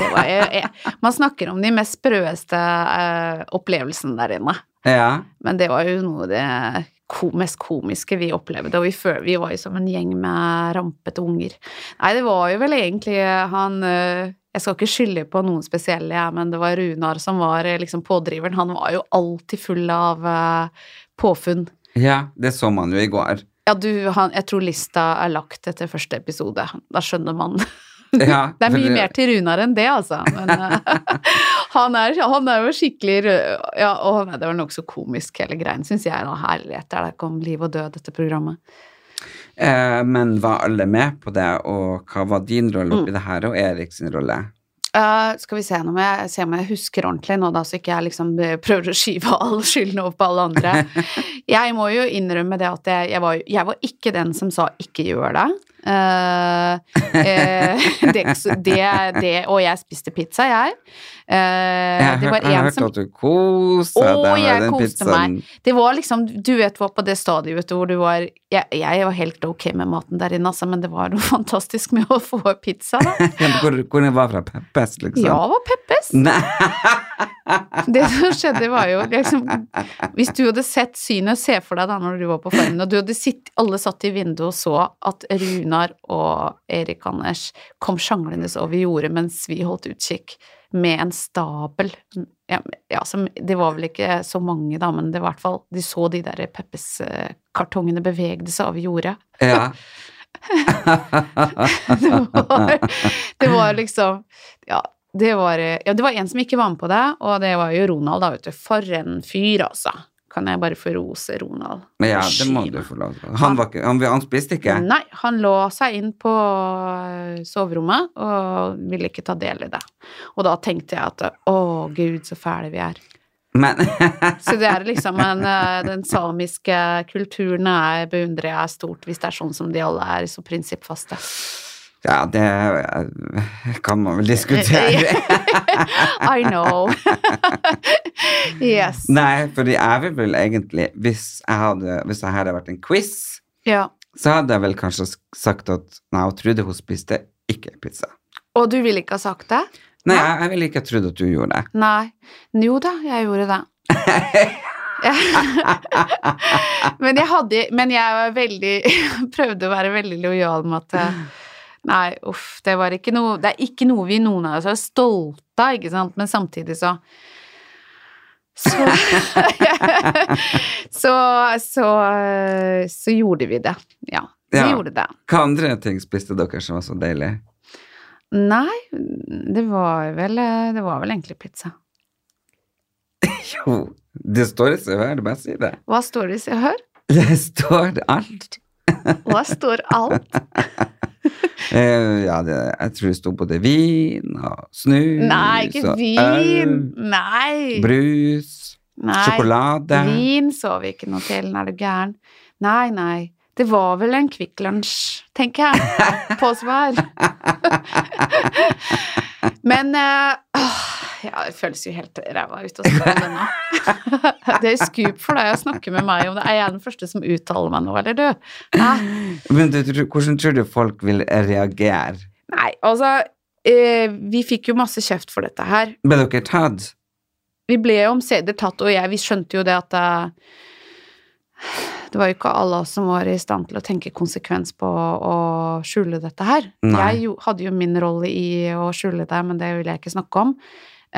[SPEAKER 2] det var jeg, jeg. Man snakker om de mest sprøeste eh, opplevelsene der inne.
[SPEAKER 1] ja.
[SPEAKER 2] Men det var jo noe av det ko mest komiske vi opplevde, og vi, fø- vi var jo som en gjeng med rampete unger. Nei, det var jo vel egentlig han øh, Jeg skal ikke skylde på noen spesielle, jeg, men det var Runar som var øh, liksom pådriveren. Han var jo alltid full av øh, påfunn.
[SPEAKER 1] Ja, det så man jo i går.
[SPEAKER 2] Ja, du, han, jeg tror lista er lagt etter første episode. Da skjønner man.
[SPEAKER 1] Ja,
[SPEAKER 2] Det er
[SPEAKER 1] for
[SPEAKER 2] mye mer til Runar enn det, altså. Men eh, han, er, han er jo skikkelig rød. Ja, å, nei, det var nokså komisk, hele greien, syns jeg. Nå, herlighet, det er da ikke om liv og død, dette programmet.
[SPEAKER 1] Eh, men var alle med på det, og hva var din rolle
[SPEAKER 2] Mm.
[SPEAKER 1] oppi det her, og Erik sin rolle?
[SPEAKER 2] Eh, skal vi se nå om jeg, se om jeg husker ordentlig nå, da, så ikke jeg liksom eh, prøver å skyve all skylden over på alle andre. Jeg må jo innrømme det at jeg, jeg, var, jo- jeg var ikke den som sa 'ikke gjør det'. Eh, eh, det, det, det Og jeg spiste pizza, jeg. Eh,
[SPEAKER 1] Jeg,
[SPEAKER 2] det
[SPEAKER 1] hør-
[SPEAKER 2] var
[SPEAKER 1] jeg
[SPEAKER 2] en
[SPEAKER 1] hørte
[SPEAKER 2] som
[SPEAKER 1] at du kosa
[SPEAKER 2] Å,
[SPEAKER 1] deg med
[SPEAKER 2] jeg
[SPEAKER 1] den
[SPEAKER 2] koste
[SPEAKER 1] pizzaen.
[SPEAKER 2] Det var liksom, du vet, var på det stadiet vet du, hvor du var jeg, jeg var helt ok med maten der inne, altså, men det var noe fantastisk med å få pizza. Da.
[SPEAKER 1] Ja, men Hvor, hvor den var fra Peppes, liksom?
[SPEAKER 2] Ja, var Peppes.
[SPEAKER 1] Nei,
[SPEAKER 2] Det som skjedde, var jo liksom Hvis du hadde sett synet, se for deg da når du var på Farmen, og du hadde sitt, alle satt i vinduet og så at Runar og Erik Anders kom sjanglende over jordet mens vi holdt utkikk med en stabel ja, ja, som, Det var vel ikke så mange, da, men det var i hvert fall De så de der Peppes-kartongene bevegde seg over jordet.
[SPEAKER 1] ja.
[SPEAKER 2] Det var, det var liksom ja det, var, ja, det var en som ikke var med på det, og det var jo Ronald, da, vet du. For en fyr, altså. Kan jeg bare få rose Ronald?
[SPEAKER 1] Men ja, det må du få lov til. Han, var ikke, han, han spiste ikke?
[SPEAKER 2] Nei, han lå seg inn på øh, soverommet og ville ikke ta del i det. Og da tenkte jeg at å, gud, så fæle vi er.
[SPEAKER 1] Men
[SPEAKER 2] Så det er liksom en, eh, den samiske kulturen er, beundrer jeg stort, hvis det er sånn som de alle er, så prinsippfaste.
[SPEAKER 1] Ja, det eh, kan man vel diskutere.
[SPEAKER 2] I know. yes.
[SPEAKER 1] Nei, fordi jeg vil vel egentlig Hvis jeg hadde, hvis det her hadde vært en quiz,
[SPEAKER 2] Ja.
[SPEAKER 1] så hadde jeg vel kanskje sk- sagt at nei, jeg trodde hun spiste ikke pizza.
[SPEAKER 2] Og du ville ikke ha sagt det?
[SPEAKER 1] Nei, jeg, jeg ville ikke trodd at du gjorde det.
[SPEAKER 2] Nei. Jo da, jeg gjorde det. men jeg hadde Men jeg var veldig Prøvde å være veldig lojal med at eh, Nei, uff, det var ikke noe Det er ikke noe vi noen av oss er stolte av, ikke sant, men samtidig så så, så, så, eh, så gjorde vi det. Ja, vi
[SPEAKER 1] Ja.
[SPEAKER 2] gjorde det.
[SPEAKER 1] Hva andre ting spiste dere som var så deilig?
[SPEAKER 2] Nei, det var vel, eh, det var vel egentlig pizza.
[SPEAKER 1] Jo, det står i CV, er det bare å si det.
[SPEAKER 2] Hva står det i Se og Hør?
[SPEAKER 1] Det står alt.
[SPEAKER 2] Og der står alt.
[SPEAKER 1] Eh, ja, det, jeg tror det sto både vin og snus
[SPEAKER 2] Nei, ikke
[SPEAKER 1] og
[SPEAKER 2] vin. Nei.
[SPEAKER 1] øl, brus,
[SPEAKER 2] Nei.
[SPEAKER 1] sjokolade.
[SPEAKER 2] Vin så vi ikke noe til, er du gæren? Nei, nei. Det var vel en Kvikk Lunsj, tenker jeg, på svar. Men eh, åh, ja, det føles jo helt ræva ut å snakke om det nå. Det er skup for deg å snakke med meg om det. Er jeg den første som uttaler meg nå, eller du? Hæ?
[SPEAKER 1] Men du, tror- hvordan tror du folk vil reagere?
[SPEAKER 2] Nei, altså, eh, vi fikk jo masse kjeft for dette her.
[SPEAKER 1] Ble dere tatt?
[SPEAKER 2] vi ble jo omsider tatt, og jeg, vi skjønte jo det at det, det var jo ikke alle oss som var i stand til å tenke konsekvens på å skjule dette her.
[SPEAKER 1] Nei.
[SPEAKER 2] Jeg jo, hadde jo min rolle i å skjule det, men det vil jeg ikke snakke om.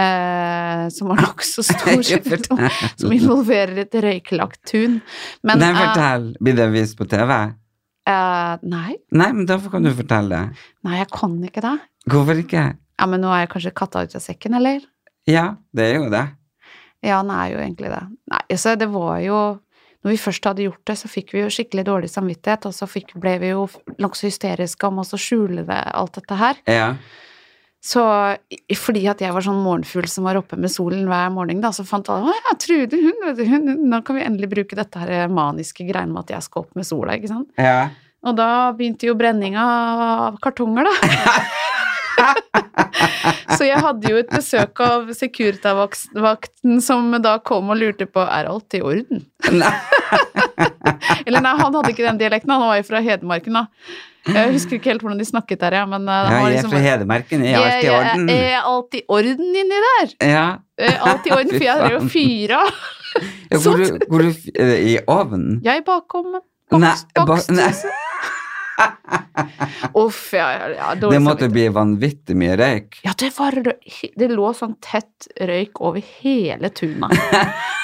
[SPEAKER 2] Eh, som var nokså stor
[SPEAKER 1] Ja,
[SPEAKER 2] sykdom,
[SPEAKER 1] fortell.
[SPEAKER 2] som involverer et røykelagt tun. Men
[SPEAKER 1] Nei,
[SPEAKER 2] eh,
[SPEAKER 1] fortell. Blir det vist på TV?
[SPEAKER 2] eh, nei,
[SPEAKER 1] Nei, men derfor kan du fortelle.
[SPEAKER 2] nei, jeg kan ikke det.
[SPEAKER 1] Hvorfor ikke?
[SPEAKER 2] Ja, men nå er jeg kanskje katta ut av sekken, eller?
[SPEAKER 1] Ja, det er jo det.
[SPEAKER 2] Ja, han er jo egentlig det. Nei, altså, det var jo Når vi først hadde gjort det, så fikk vi jo skikkelig dårlig samvittighet, og så fikk, ble vi jo nokså hysteriske om oss å skjule det, alt dette her.
[SPEAKER 1] Ja.
[SPEAKER 2] Så i- fordi at jeg var sånn morgenfugl som var oppe med solen hver morgen, da, så fant alle Å ja, Trude, hun, vet du, hun, hun, nå kan vi endelig bruke dette her maniske greiene med at jeg skal opp med sola, ikke sant.
[SPEAKER 1] ja.
[SPEAKER 2] Og da begynte jo brenninga av kartonger, da. så jeg hadde jo et besøk av Securitas-vakten som da kom og lurte på er alt i orden.
[SPEAKER 1] Nei.
[SPEAKER 2] Eller nei, han hadde ikke den dialekten, han var jo fra Hedmarken, da. Jeg husker ikke helt hvordan de snakket der, ja, men eh, han
[SPEAKER 1] Ja,
[SPEAKER 2] var
[SPEAKER 1] jeg er
[SPEAKER 2] liksom
[SPEAKER 1] fra Hedmarken. Jeg er alltid i
[SPEAKER 2] Jeg-
[SPEAKER 1] orden.
[SPEAKER 2] Jeg er alt i orden inni der.
[SPEAKER 1] Ja.
[SPEAKER 2] Eh, Alt i orden, for jeg drev og fyra.
[SPEAKER 1] Ja, Går du, går du f- eh, i ovnen?
[SPEAKER 2] Jeg bakom.
[SPEAKER 1] Nei,
[SPEAKER 2] Bakst,
[SPEAKER 1] ba-
[SPEAKER 2] bakst,
[SPEAKER 1] nei.
[SPEAKER 2] Uff, ja, ja, ja, dårlig
[SPEAKER 1] Det måtte
[SPEAKER 2] samvittighet.
[SPEAKER 1] bli vanvittig mye røyk.
[SPEAKER 2] Ja, det var rø- Det lå sånn tett røyk over hele tuna.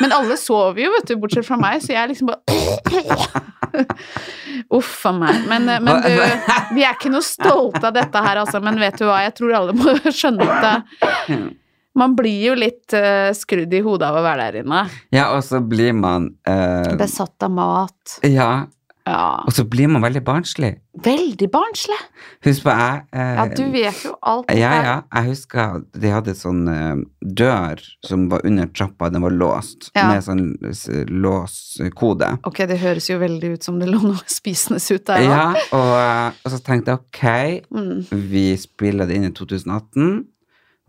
[SPEAKER 2] Men alle sov jo, vet du, bortsett fra meg, så jeg liksom bare Uff a meg. Men, eh, men du, vi er ikke noe stolte av dette her, altså. Men vet du hva, jeg tror alle må skjønne at det, man blir jo litt eh, skrudd i hodet av å være der inne.
[SPEAKER 1] Ja, og så blir man eh,
[SPEAKER 2] Besatt av mat.
[SPEAKER 1] Ja,
[SPEAKER 2] Ja.
[SPEAKER 1] og så blir man veldig barnslig.
[SPEAKER 2] Veldig barnslig.
[SPEAKER 1] Husk på, jeg eh,
[SPEAKER 2] Ja, du vet jo alt.
[SPEAKER 1] Ja, ja. Jeg husker at de hadde sånn eh, dør som var under trappa, den var låst,
[SPEAKER 2] Ja.
[SPEAKER 1] med sånn s- eh, låskode.
[SPEAKER 2] Ok, det høres jo veldig ut som det lå noe spisende ut der. da.
[SPEAKER 1] Ja, og, eh, og så tenkte jeg ok,
[SPEAKER 2] Mm,
[SPEAKER 1] vi spiller det inn i 2018,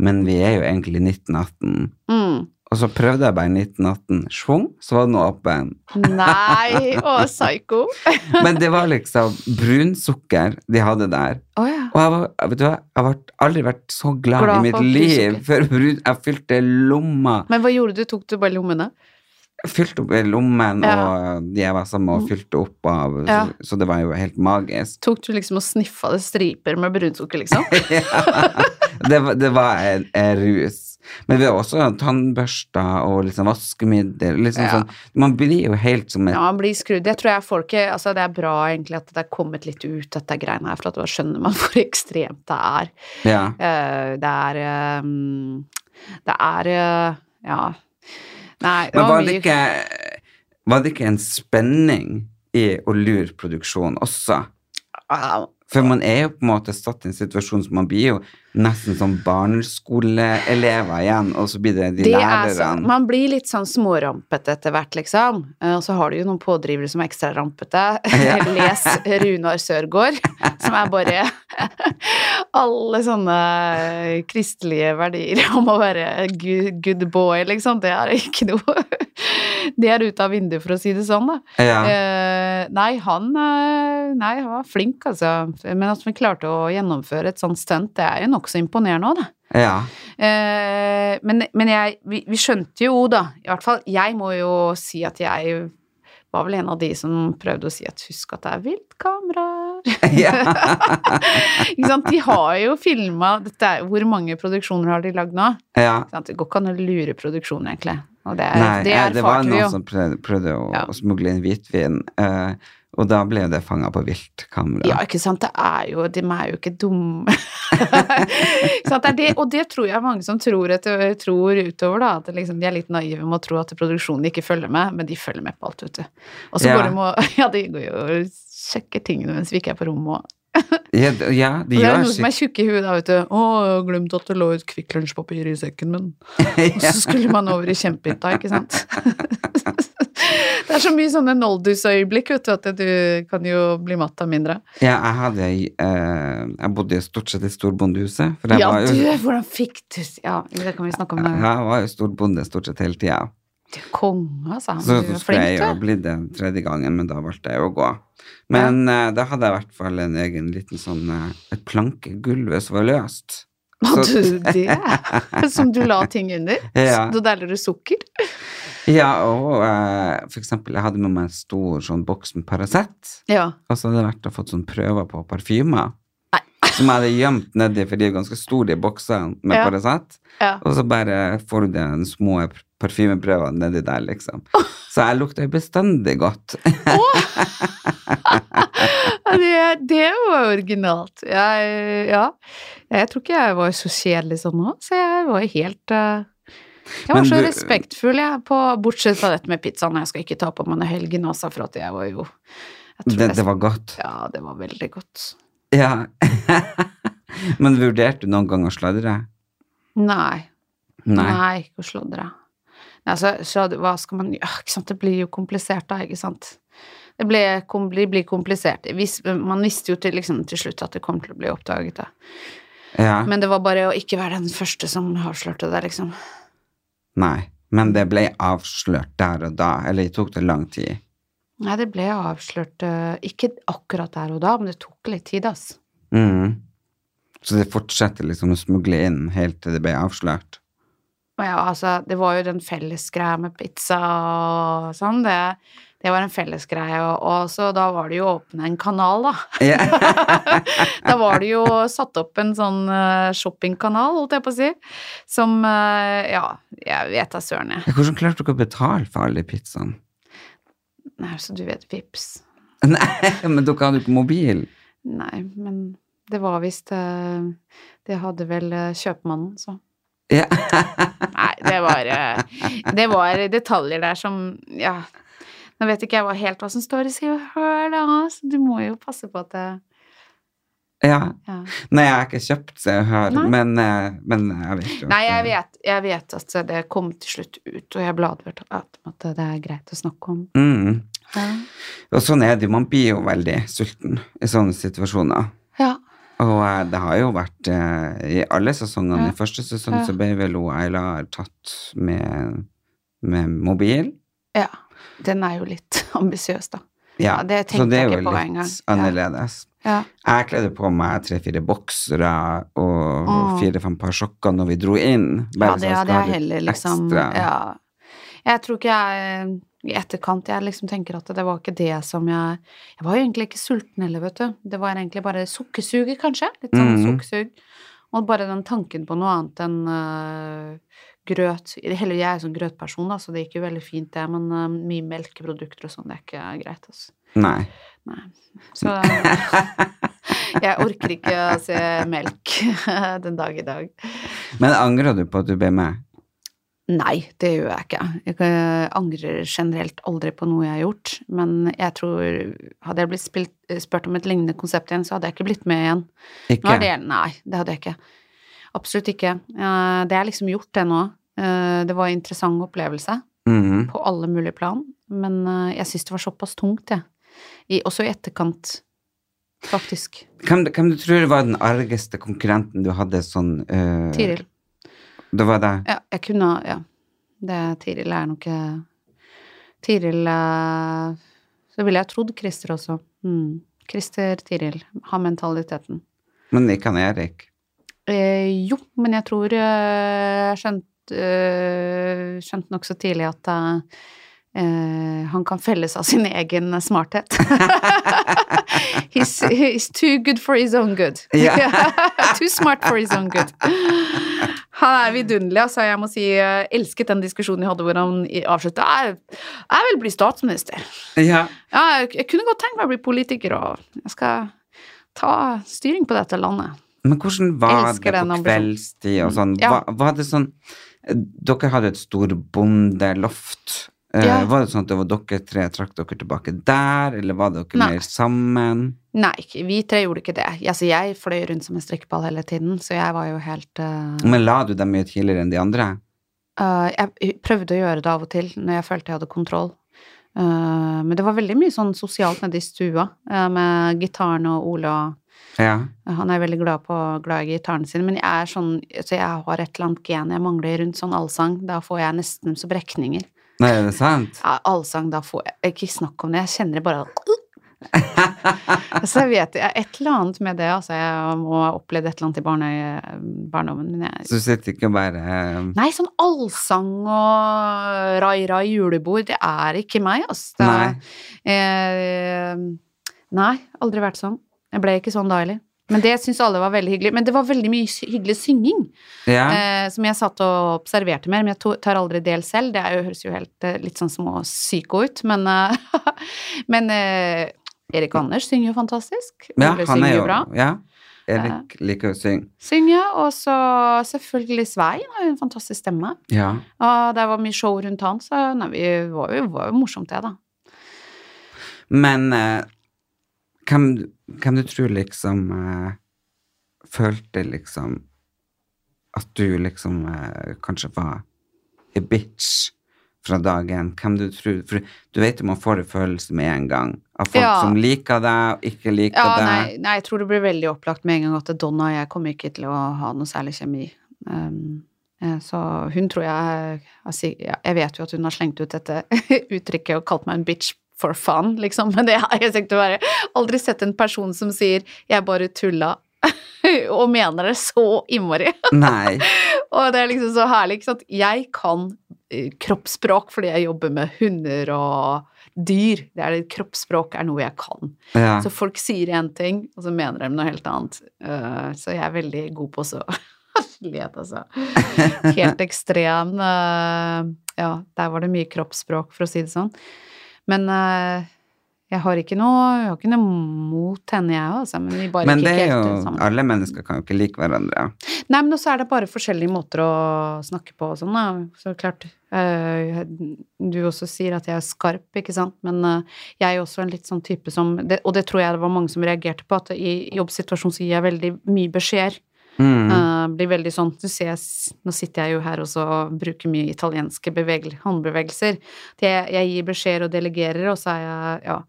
[SPEAKER 1] men vi er jo egentlig 1918.
[SPEAKER 2] mm.
[SPEAKER 1] Og så prøvde jeg bare 1918, schwung, så var den åpen.
[SPEAKER 2] Nei, å, psyko.
[SPEAKER 1] Men det var liksom brunsukker de hadde der.
[SPEAKER 2] Å ja.
[SPEAKER 1] Og jeg, var, vet du hva, jeg har aldri vært så glad,
[SPEAKER 2] Glad
[SPEAKER 1] i mitt
[SPEAKER 2] for
[SPEAKER 1] liv
[SPEAKER 2] brunsukker.
[SPEAKER 1] for brun. Jeg fylte lomma.
[SPEAKER 2] Men hva gjorde du? Tok du bare lommene?
[SPEAKER 1] fylte opp i lommen,
[SPEAKER 2] Ja.
[SPEAKER 1] og de jeg var sammen med, og fylte opp av,
[SPEAKER 2] Ja.
[SPEAKER 1] så, så det var jo helt magisk.
[SPEAKER 2] Tok du liksom og sniffa det striper med brunsukker, liksom?
[SPEAKER 1] Det, var- det var en, en rus. Men vi har også tannbørster og liksom vaskemiddel. Liksom
[SPEAKER 2] Ja.
[SPEAKER 1] sånn. Man blir jo helt som et
[SPEAKER 2] Ja, man blir skrudd. Jeg tror jeg får ikke Altså, det er bra egentlig at det er kommet litt ut, dette greiene her, for at da skjønner man hvor ekstremt det er.
[SPEAKER 1] ja.
[SPEAKER 2] Eh, Det er eh, mm, Det er eh, Ja. Nei, det
[SPEAKER 1] Men
[SPEAKER 2] var
[SPEAKER 1] var det,
[SPEAKER 2] mye
[SPEAKER 1] ikke, var det ikke en spenning i å lure produksjonen også?
[SPEAKER 2] Au.
[SPEAKER 1] For man er jo på en måte satt i en situasjon som man blir jo nesten som barneskoleelever igjen, og så blir det de
[SPEAKER 2] Det er sånn,
[SPEAKER 1] lærerne.
[SPEAKER 2] man blir litt sånn smårampete etter hvert, liksom. Eh, Og så har du jo noen pådrivere som er ekstra rampete. Les Runar Sørgaard, som er bare alle sånne kristelige verdier om å være good, good boy, liksom. Det er ikke noe Det er ute av vinduet, for å si det sånn, da.
[SPEAKER 1] Ja.
[SPEAKER 2] Eh, nei, han, eh, nei, han var flink, altså. Men at vi klarte å gjennomføre et sånt stunt, det er jo nokså imponerende òg, da.
[SPEAKER 1] ja.
[SPEAKER 2] Eh, men men jeg, vi, vi skjønte jo da, i hvert fall Jeg må jo si at jeg var vel en av de som prøvde å si at husk at det er viltkameraer.
[SPEAKER 1] ja.
[SPEAKER 2] Ikke sant? De har jo filma Hvor mange produksjoner har de lagd nå?
[SPEAKER 1] ja.
[SPEAKER 2] Ikke sant? Det går ikke an å lure produksjonen, egentlig. Og det,
[SPEAKER 1] Nei,
[SPEAKER 2] det
[SPEAKER 1] ja, det var
[SPEAKER 2] erfarte vi
[SPEAKER 1] noen
[SPEAKER 2] jo.
[SPEAKER 1] som prøvde, prøvde å,
[SPEAKER 2] Ja.
[SPEAKER 1] å smugle inn hvitvin, eh, og da ble det fanga på viltkamera.
[SPEAKER 2] Ja, ikke sant. Det er jo De er jo ikke dumme. Ikke sant? det er det, og det tror jeg mange som tror, etter, tror utover, da. At det liksom, de er litt naive med å tro at produksjonen ikke følger med, men de følger med på alt, vet du. Og så
[SPEAKER 1] Ja.
[SPEAKER 2] går de og Ja, det går jo sjekker tingene mens vi ikke er på rommet. og-
[SPEAKER 1] Ja, d- ja de
[SPEAKER 2] Og det er
[SPEAKER 1] gjør
[SPEAKER 2] noen som er
[SPEAKER 1] sikkert
[SPEAKER 2] tjukke i huet da, vet du. 'Å, jeg glemte at det lå et Kvikk Lunsj-papir i sekken min.' Og så skulle man over i kjempehytta, ikke sant? det er så mye sånne noldusøyeblikk, vet du, at du kan jo bli matt av mindre.
[SPEAKER 1] ja, jeg, hadde, eh, jeg bodde jo stort sett i storbondehuset. For jeg,
[SPEAKER 2] Ja,
[SPEAKER 1] var
[SPEAKER 2] du,
[SPEAKER 1] jo,
[SPEAKER 2] hvordan fikk du Ja, det kan vi snakke om. det.
[SPEAKER 1] jeg var jo storbonde stort sett hele tida.
[SPEAKER 2] Du er konge, altså. Du
[SPEAKER 1] Så,
[SPEAKER 2] er
[SPEAKER 1] så skulle
[SPEAKER 2] flink,
[SPEAKER 1] jeg jo
[SPEAKER 2] du.
[SPEAKER 1] bli det tredje gangen, men da valgte jeg å gå. Men eh, da hadde jeg i hvert fall en egen liten sånn eh, Et plankegulv som var løst.
[SPEAKER 2] Å,
[SPEAKER 1] Så-
[SPEAKER 2] du, det. Som du la ting under.
[SPEAKER 1] Ja.
[SPEAKER 2] Så deler du sukker.
[SPEAKER 1] Ja, og eh, for eksempel, jeg hadde med meg en stor sånn boks med Paracet,
[SPEAKER 2] Ja.
[SPEAKER 1] og så hadde jeg vært og fått sånn prøver på parfymer. Som jeg hadde gjemt nedi, for de er jo ganske store, de boksene med
[SPEAKER 2] Ja.
[SPEAKER 1] Paracet.
[SPEAKER 2] ja.
[SPEAKER 1] Og så bare får du den små parfymeprøvene nedi der, liksom. Så jeg lukta jo bestandig godt.
[SPEAKER 2] Ja, Det, det var originalt. Jeg, ja. Jeg tror ikke jeg var så kjedelig sånn nå, så jeg var helt eh, Jeg var
[SPEAKER 1] Men
[SPEAKER 2] så
[SPEAKER 1] du-
[SPEAKER 2] respektfull, jeg, på, bortsett fra dette med pizzaen. Jeg skal ikke ta på meg noe helgen også, for at jeg var jo jeg tror
[SPEAKER 1] Det,
[SPEAKER 2] jeg-
[SPEAKER 1] det var godt.
[SPEAKER 2] Ja, det var veldig godt.
[SPEAKER 1] Ja. Men vurderte du noen gang å sladre?
[SPEAKER 2] Nei. Nei,
[SPEAKER 1] Nei.
[SPEAKER 2] ikke å sladre. Nei, så, så det- hva skal man gjøre? Ikke sant, det blir jo komplisert da, ikke sant? Det ble, kom, blir- blir komplisert. Hvis, man visste jo til, liksom, til slutt at det kom til å bli oppdaget, da.
[SPEAKER 1] Ja.
[SPEAKER 2] Men det var bare å ikke være den første som avslørte det, liksom.
[SPEAKER 1] Nei. Men det ble avslørt der og da, eller det tok det lang tid.
[SPEAKER 2] Nei, det ble avslørt eh, ikke akkurat der og da, men det tok litt tid, ass.
[SPEAKER 1] Mm. Så det fortsetter liksom å smugle inn helt til det ble avslørt.
[SPEAKER 2] Og ja, altså, det var jo den fellesgreia med pizza og sånn, det, det var en fellesgreie, og, og så da var det jo å åpne en kanal, da.
[SPEAKER 1] Ja.
[SPEAKER 2] da var det jo satt opp en sånn eh, shoppingkanal, holdt jeg på å si, som eh, Ja, jeg vet da søren, jeg.
[SPEAKER 1] Hvordan klarte dere å betale for alle pizzaene?
[SPEAKER 2] Nei, så du vet, vips.
[SPEAKER 1] Nei, men dere hadde jo ikke mobil.
[SPEAKER 2] Nei, men det var visst eh, Det hadde vel eh, kjøpmannen, så.
[SPEAKER 1] Ja.
[SPEAKER 2] Nei, det var, eh, det var detaljer der som Ja. Nå vet ikke jeg hva helt hva som står i Se og Hør, da, så du må jo passe på at det
[SPEAKER 1] ja.
[SPEAKER 2] ja.
[SPEAKER 1] Nei, jeg har ikke kjøpt Se og Hør,
[SPEAKER 2] Nei.
[SPEAKER 1] men, eh, men jeg vet jo at-
[SPEAKER 2] Nei, jeg vet, jeg vet at det kom til slutt ut, og jeg ble advart om at det er greit å snakke om.
[SPEAKER 1] Mm.
[SPEAKER 2] Ja.
[SPEAKER 1] Og sånn er det jo. Man blir jo veldig sulten i sånne situasjoner.
[SPEAKER 2] ja.
[SPEAKER 1] Og eh, det har jo vært eh, i alle sesongene.
[SPEAKER 2] Ja.
[SPEAKER 1] I første sesong
[SPEAKER 2] Ja.
[SPEAKER 1] så ble vel hun Ayla tatt med, med mobil.
[SPEAKER 2] Ja. Den er jo litt ambisiøs, da.
[SPEAKER 1] Ja,
[SPEAKER 2] Ja, det
[SPEAKER 1] så
[SPEAKER 2] tenkte
[SPEAKER 1] det
[SPEAKER 2] jeg
[SPEAKER 1] er jo
[SPEAKER 2] ikke på
[SPEAKER 1] litt
[SPEAKER 2] engang. Ja.
[SPEAKER 1] annerledes.
[SPEAKER 2] Ja.
[SPEAKER 1] Jeg kledde på meg tre-fire boksere og
[SPEAKER 2] Åh.
[SPEAKER 1] fire-fem par sokker når vi dro inn.
[SPEAKER 2] Ja,
[SPEAKER 1] Bare
[SPEAKER 2] det
[SPEAKER 1] så skal
[SPEAKER 2] hadde
[SPEAKER 1] ha
[SPEAKER 2] jeg
[SPEAKER 1] litt
[SPEAKER 2] heller liksom
[SPEAKER 1] ekstra.
[SPEAKER 2] ja. Jeg tror ikke jeg i etterkant jeg liksom tenker at det var ikke det som jeg Jeg var jo egentlig ikke sulten heller, vet du. Det var egentlig bare sukkersuget, kanskje. Litt sånn
[SPEAKER 1] Mhm.
[SPEAKER 2] sukkersug. Og bare den tanken på noe annet enn øh, grøt Heller jeg er sånn grøtperson, da, så det gikk jo veldig fint, det, men øh, mye melkeprodukter og sånn, det er ikke greit, altså.
[SPEAKER 1] Nei.
[SPEAKER 2] Nei. Så jeg orker ikke å se melk den dag i dag.
[SPEAKER 1] Men angrer du på at du ble med?
[SPEAKER 2] Nei, det gjør jeg ikke. Jeg eh, angrer generelt aldri på noe jeg har gjort, men jeg tror Hadde jeg blitt spilt, spurt om et lignende konsept igjen, så hadde jeg ikke blitt med igjen. Nå
[SPEAKER 1] Ikke?
[SPEAKER 2] er det, nei, det hadde jeg ikke. Absolutt ikke. Eh, Det er liksom gjort, det nå. Eh, Det var en interessant opplevelse
[SPEAKER 1] Mhm.
[SPEAKER 2] på alle mulige plan, men eh, jeg syns det var såpass tungt, jeg. I- Også i etterkant, faktisk.
[SPEAKER 1] hvem, hvem du tror var den argeste konkurrenten du hadde sånn eh,
[SPEAKER 2] Tiril.
[SPEAKER 1] Det var deg?
[SPEAKER 2] Ja, jeg kunne ha- Ja. Det Tiril er nok eh, Tiril eh, Så ville jeg trodd Christer også. Mm. Christer Tiril har mentaliteten.
[SPEAKER 1] Men ikke han Erik?
[SPEAKER 2] Eh, jo, men jeg tror eh, jeg skjønte eh, skjønte nokså tidlig at eh, han kan felles av sin egen smarthet. he's, he's too good for his own good.
[SPEAKER 1] Ja.
[SPEAKER 2] too smart for his own good. Han er vidunderlig, altså. Jeg må si jeg elsket den diskusjonen jeg hadde hvor han i- avslutta. Jeg, jeg vil bli statsminister.
[SPEAKER 1] Ja.
[SPEAKER 2] Ja, jeg, jeg kunne godt tenkt meg å bli politiker, og jeg skal ta styring på dette landet.
[SPEAKER 1] Men hvordan var
[SPEAKER 2] Elsker
[SPEAKER 1] det på
[SPEAKER 2] den ambisjonen.
[SPEAKER 1] kveldstid og sånn?
[SPEAKER 2] Ja.
[SPEAKER 1] Var, var det sånn eh, Dere hadde et storbondeloft Eh,
[SPEAKER 2] Ja.
[SPEAKER 1] Var det sånn at det var dere tre trakk dere tilbake der, eller var dere
[SPEAKER 2] Nei.
[SPEAKER 1] mer sammen?
[SPEAKER 2] Nei, ikke- vi tre gjorde ikke det. Altså, jeg fløy rundt som en strikkeball hele tiden, så jeg var jo helt eh,
[SPEAKER 1] Men la du dem mye tidligere enn de andre?
[SPEAKER 2] eh, Jeg prøvde å gjøre det av og til når jeg følte jeg hadde kontroll. Eh, men det var veldig mye sånn sosialt nede i stua eh, med gitaren og Ole og eh,
[SPEAKER 1] Ja.
[SPEAKER 2] Han er veldig glad, på, glad i gitaren sin, men jeg er sånn Så jeg har et eller annet gen jeg mangler rundt sånn allsang. Da får jeg nesten så brekninger.
[SPEAKER 1] Nei, er det sant?
[SPEAKER 2] Ja, allsang, da får jeg Ikke snakk om det, jeg kjenner det bare Så jeg vet jeg et eller annet med det, altså. Jeg må ha opplevd et eller annet i barne, barndommen, men jeg
[SPEAKER 1] Så du sitter ikke og bare eh,
[SPEAKER 2] Nei, sånn allsang og rai-rai julebord, det er ikke meg, altså. Det er- Eh, nei, aldri vært sånn. Jeg ble ikke sånn da heller. Men det syns alle var veldig hyggelig. Men det var veldig mye sy- hyggelig synging
[SPEAKER 1] Ja.
[SPEAKER 2] eh, som jeg satt og observerte mer, men jeg to- tar aldri del selv. Det er jo, høres jo helt eh, litt sånn små psyko ut, men, eh, men eh, Erik Anders synger jo fantastisk.
[SPEAKER 1] ja,
[SPEAKER 2] Ole
[SPEAKER 1] han
[SPEAKER 2] synger
[SPEAKER 1] er
[SPEAKER 2] jo
[SPEAKER 1] jo
[SPEAKER 2] bra. Eh.
[SPEAKER 1] Ja. Erik liker å synge.
[SPEAKER 2] Synger, og så selvfølgelig Svein har jo en fantastisk stemme.
[SPEAKER 1] Ja.
[SPEAKER 2] Og det var mye show rundt han, så nei, vi var jo, var jo morsomt, det, da.
[SPEAKER 1] Men eh, hvem, du- hvem du tror liksom eh, følte liksom at du liksom eh, kanskje var a bitch fra dagen? Hvem du tror For du vet jo man får en følelse med en gang av folk
[SPEAKER 2] Ja.
[SPEAKER 1] som liker deg og ikke liker
[SPEAKER 2] Ja,
[SPEAKER 1] deg.
[SPEAKER 2] nei, nei, jeg tror det blir veldig opplagt med en gang at Donna og jeg kommer ikke til å ha noe særlig kjemi. Um, eh, så hun tror jeg altså, ja, Jeg vet jo at hun har slengt ut dette uttrykket og kalt meg en bitch for fun, liksom, men det har jeg sikkert å være. Aldri sett en person som sier 'jeg bare tulla'. og mener det så innmari.
[SPEAKER 1] Nei.
[SPEAKER 2] Og det er liksom så herlig. ikke sant? Jeg kan eh, kroppsspråk fordi jeg jobber med hunder og dyr. Det er det, kroppsspråk er noe jeg kan.
[SPEAKER 1] Ja.
[SPEAKER 2] Så folk sier én ting, og så mener de noe helt annet. Eh, så jeg er veldig god på så herlighet, altså. Helt ekstrem. eh, ja, der var det mye kroppsspråk, for å si det sånn. Men eh, jeg har ikke noe, jeg har ikke noe mot henne, jeg òg, altså. Men vi bare
[SPEAKER 1] Men
[SPEAKER 2] gikk
[SPEAKER 1] det
[SPEAKER 2] ikke
[SPEAKER 1] er
[SPEAKER 2] helt
[SPEAKER 1] jo
[SPEAKER 2] sammen.
[SPEAKER 1] Alle mennesker kan jo ikke like hverandre.
[SPEAKER 2] Nei, men også er det bare forskjellige måter å snakke på og sånn, da. Så klart. eh, Du også sier at jeg er skarp, ikke sant. Men eh, jeg er også en litt sånn type som det- Og det tror jeg det var mange som reagerte på, at i jobbsituasjonen så gir jeg veldig mye beskjeder.
[SPEAKER 1] Mm.
[SPEAKER 2] Eh, blir veldig sånn Du ser, jeg s- nå sitter jeg jo her også og bruker mye italienske bevegel, håndbevegelser. At Jeg, jeg gir beskjeder og delegerer, og så er jeg Ja.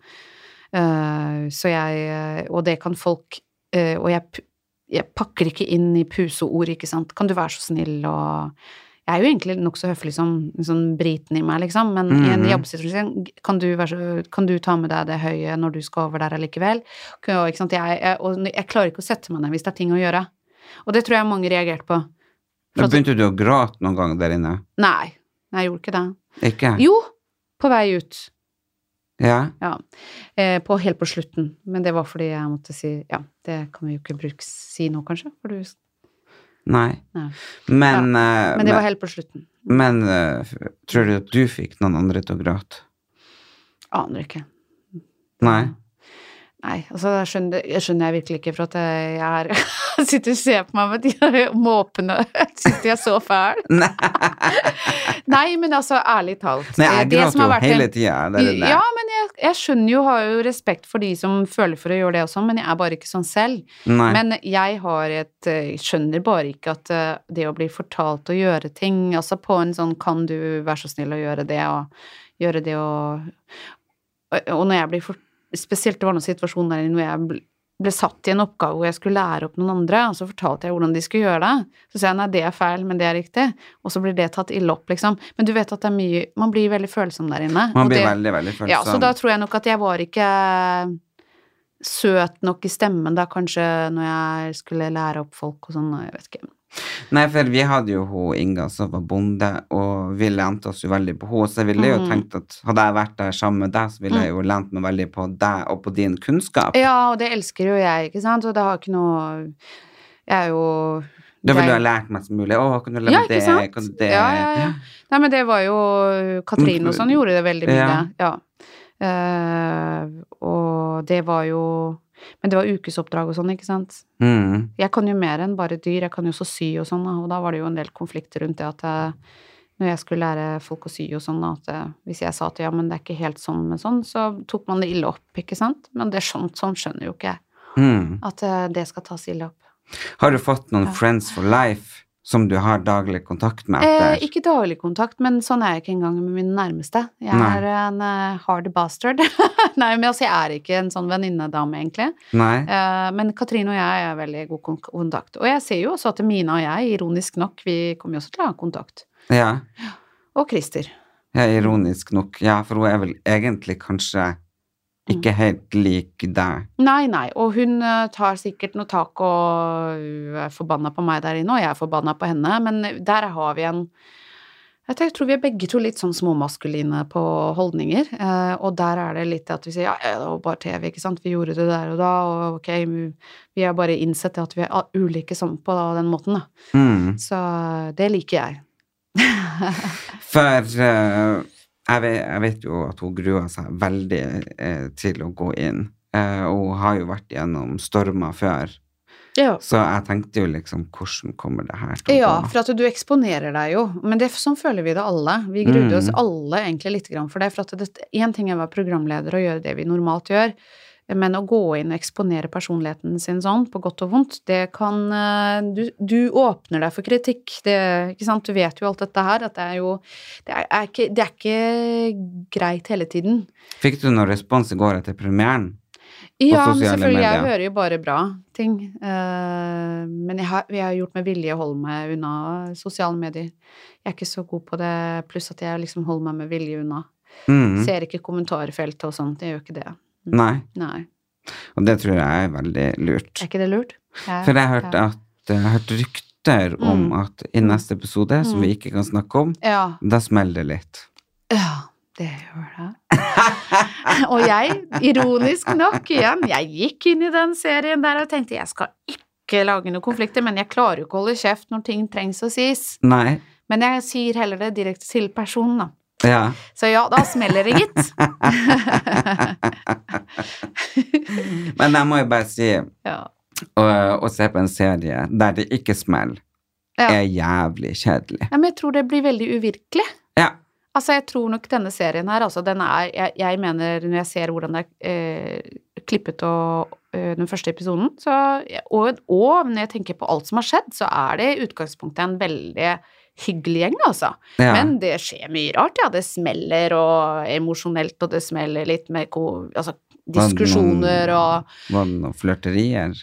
[SPEAKER 2] Eh, så jeg eh, Og det kan folk eh, Og jeg, p- jeg pakker ikke inn i puseord, ikke sant. Kan du være så snill og jeg er jo egentlig nokså høflig som sånn briten i meg, liksom, men i en
[SPEAKER 1] Mhm.
[SPEAKER 2] jobbsituasjon kan du, være så, kan du ta med deg det høye når du skal over der allikevel? Kan- Ikke sant? Jeg, jeg, og jeg klarer ikke å sette meg ned hvis det er ting å gjøre. Og det tror jeg mange reagerte på. For
[SPEAKER 1] Men
[SPEAKER 2] at,
[SPEAKER 1] Begynte du å gråte noen gang der inne?
[SPEAKER 2] nei, nei, jeg gjorde ikke det.
[SPEAKER 1] Ikke?
[SPEAKER 2] Jo, på vei ut.
[SPEAKER 1] Ja.
[SPEAKER 2] Ja. Eh, på, helt på slutten. Men det var fordi jeg måtte si Ja, det kan vi jo ikke bruke, si nå, kanskje. For du,
[SPEAKER 1] Nei.
[SPEAKER 2] Nei.
[SPEAKER 1] Men, eh,
[SPEAKER 2] men det var helt på slutten.
[SPEAKER 1] Men eh, f- tror du at du fikk noen andre til å gråte?
[SPEAKER 2] Aner ikke.
[SPEAKER 1] Nei.
[SPEAKER 2] Nei, altså jeg skjønner, jeg skjønner jeg virkelig ikke, for at jeg er Sitter og ser på meg med de måpene Syns de er så fæl.
[SPEAKER 1] Nei,
[SPEAKER 2] Nei, men altså, ærlig talt
[SPEAKER 1] Nei
[SPEAKER 2] eh,
[SPEAKER 1] jeg
[SPEAKER 2] det
[SPEAKER 1] gråter
[SPEAKER 2] som har
[SPEAKER 1] jo
[SPEAKER 2] vært en-
[SPEAKER 1] hele tida. Det er det.
[SPEAKER 2] Ja, men jeg, jeg skjønner jo, har jo respekt for de som føler for å gjøre det også, men jeg er bare ikke sånn selv.
[SPEAKER 1] Nei.
[SPEAKER 2] Men jeg har et eh, skjønner bare ikke at eh, det å bli fortalt å gjøre ting, altså på en sånn kan du være så snill å gjøre det, og gjøre det og Og og når jeg blir for, Spesielt det var noen situasjoner der hvor jeg bl- ble satt i en oppgave hvor jeg skulle lære opp noen andre, og så fortalte jeg hvordan de skulle gjøre det. Så sa jeg nei, det er feil, men det er riktig. Og så blir det tatt ille opp, liksom. Men du vet at det er mye Man blir veldig følsom der inne. og
[SPEAKER 1] Man blir
[SPEAKER 2] det,
[SPEAKER 1] veldig, veldig følsom.
[SPEAKER 2] ja, så da tror jeg nok at jeg var ikke eh, søt nok i stemmen da, kanskje, når jeg skulle lære opp folk og sånn, og jeg vet ikke.
[SPEAKER 1] Nei, for vi hadde jo hun Inga som var bonde, og vi lente oss jo veldig på henne. Så jeg ville jo
[SPEAKER 2] Mm.
[SPEAKER 1] tenkt at hadde jeg vært der sammen med deg, så ville jeg jo lent meg veldig på deg og på din kunnskap.
[SPEAKER 2] Ja, og det elsker jo jeg, ikke sant, og det har ikke noe Jeg er jo
[SPEAKER 1] Da ville du
[SPEAKER 2] jeg-
[SPEAKER 1] ha lært meg som mulig. Å, kan du lære
[SPEAKER 2] ja,
[SPEAKER 1] meg
[SPEAKER 2] ikke
[SPEAKER 1] det?
[SPEAKER 2] sant?
[SPEAKER 1] Kan du det?
[SPEAKER 2] Ja, ja, ja. Nei, men det var jo Katrine og sånn gjorde det veldig mye.
[SPEAKER 1] Ja.
[SPEAKER 2] Ja. Eh, og det var jo Men det var ukesoppdrag og sånn, ikke sant?
[SPEAKER 1] Mm.
[SPEAKER 2] Jeg kan jo mer enn bare dyr, jeg kan jo også sy og sånn, da, og da var det jo en del konflikter rundt det at jeg, når jeg skulle lære folk å sy og sånn, at eh, hvis jeg sa til ja, men det er ikke helt sånn med sånn, så tok man det ille opp, ikke sant? Men det er sånt, sånn skjønner jo ikke jeg.
[SPEAKER 1] Mm.
[SPEAKER 2] At eh, det skal tas ille opp.
[SPEAKER 1] Har du fått noen friends for life som du har daglig kontakt med?
[SPEAKER 2] Eh,
[SPEAKER 1] etter?
[SPEAKER 2] ikke daglig kontakt, men sånn er jeg ikke engang med mine nærmeste. Jeg
[SPEAKER 1] Nei.
[SPEAKER 2] er en eh, hard bastard. Nei, men altså, jeg er ikke en sånn venninnedame, egentlig.
[SPEAKER 1] Nei?
[SPEAKER 2] Eh, men Katrine og jeg er veldig god kon- kontakt. Og jeg ser jo også at Mina og jeg, ironisk nok, vi kommer jo også til å ha kontakt.
[SPEAKER 1] Ja.
[SPEAKER 2] Og Christer.
[SPEAKER 1] ja, ironisk nok. Ja, for hun er vel egentlig kanskje
[SPEAKER 2] Mm.
[SPEAKER 1] ikke helt lik deg.
[SPEAKER 2] Nei, nei, og hun eh, tar sikkert noe tak og hun er forbanna på meg der inne, og jeg er forbanna på henne, men eh, der har vi en Jeg tenker- tror vi er begge to litt sånn småmaskuline på holdninger, eh, og der er det litt at vi sier ja, ja, det var bare TV, ikke sant, vi gjorde det der og da, og ok, vi- vi har bare innsett at vi er a- ulike som- på den måten, da.
[SPEAKER 1] Mm.
[SPEAKER 2] Så eh, det liker jeg.
[SPEAKER 1] For eh, jeg, vet, jeg vet jo at hun gruer seg veldig eh, til å gå inn. Eh, og hun har jo vært gjennom stormer før.
[SPEAKER 2] Ja.
[SPEAKER 1] Så jeg tenkte jo liksom, hvordan kommer det her til å
[SPEAKER 2] Ja,
[SPEAKER 1] gå?
[SPEAKER 2] for at du eksponerer deg jo. Men det, sånn føler vi det alle. Vi grudde oss alle egentlig litt grann for det. For at én ting er å være programleder og gjøre det vi normalt gjør, men å gå inn og eksponere personligheten sin sånn, på godt og vondt, det kan eh, Du, du åpner deg for kritikk. Det, ikke sant? Du vet jo alt dette her, at det er jo det er, er ikke, det er ikke greit hele tiden.
[SPEAKER 1] Fikk du noen respons i går etter premieren?
[SPEAKER 2] Ja, men
[SPEAKER 1] sosiale
[SPEAKER 2] selvfølgelig. Jeg
[SPEAKER 1] medier.
[SPEAKER 2] hører jo bare bra ting. Eh, men jeg har, jeg har gjort med vilje å holde meg unna sosiale medier. Jeg er ikke så god på det, pluss at jeg liksom holder meg med vilje unna.
[SPEAKER 1] Mm.
[SPEAKER 2] Ser ikke kommentarfeltet og sånt. Jeg gjør ikke det.
[SPEAKER 1] Nei.
[SPEAKER 2] Nei.
[SPEAKER 1] Og det tror jeg er veldig lurt.
[SPEAKER 2] Er ikke det lurt? Jeg-
[SPEAKER 1] For jeg hørte
[SPEAKER 2] ja.
[SPEAKER 1] at eh, jeg har hørt rykter om
[SPEAKER 2] Mm.
[SPEAKER 1] at i neste episode, som vi ikke kan snakke om,
[SPEAKER 2] ja.
[SPEAKER 1] da smeller det litt.
[SPEAKER 2] Ja, det gjør det. og jeg, ironisk nok igjen, jeg gikk inn i den serien der og tenkte jeg skal ikke lage noen konflikter, men jeg klarer jo ikke å holde kjeft når ting trengs å sies.
[SPEAKER 1] Nei.
[SPEAKER 2] Men jeg sier heller det direkte til personen, da.
[SPEAKER 1] Ja.
[SPEAKER 2] Så ja, da smeller det, gitt.
[SPEAKER 1] Men jeg må jo bare si
[SPEAKER 2] Ja.
[SPEAKER 1] å, å se på en serie der det ikke smeller,
[SPEAKER 2] Ja.
[SPEAKER 1] er jævlig kjedelig.
[SPEAKER 2] ja, men jeg tror det blir veldig uvirkelig.
[SPEAKER 1] Ja.
[SPEAKER 2] Altså, jeg tror nok denne serien her, altså, den er Jeg, jeg mener, når jeg ser hvordan det er eh, klippet og eh, den første episoden, så og, og når jeg tenker på alt som har skjedd, så er det i utgangspunktet en veldig hyggelig gjeng, altså.
[SPEAKER 1] ja.
[SPEAKER 2] Men det skjer mye rart, ja. Det smeller og emosjonelt, og det smeller litt med ko, altså,
[SPEAKER 1] Var det
[SPEAKER 2] diskusjoner
[SPEAKER 1] noen-
[SPEAKER 2] og
[SPEAKER 1] Var det noen flørterier?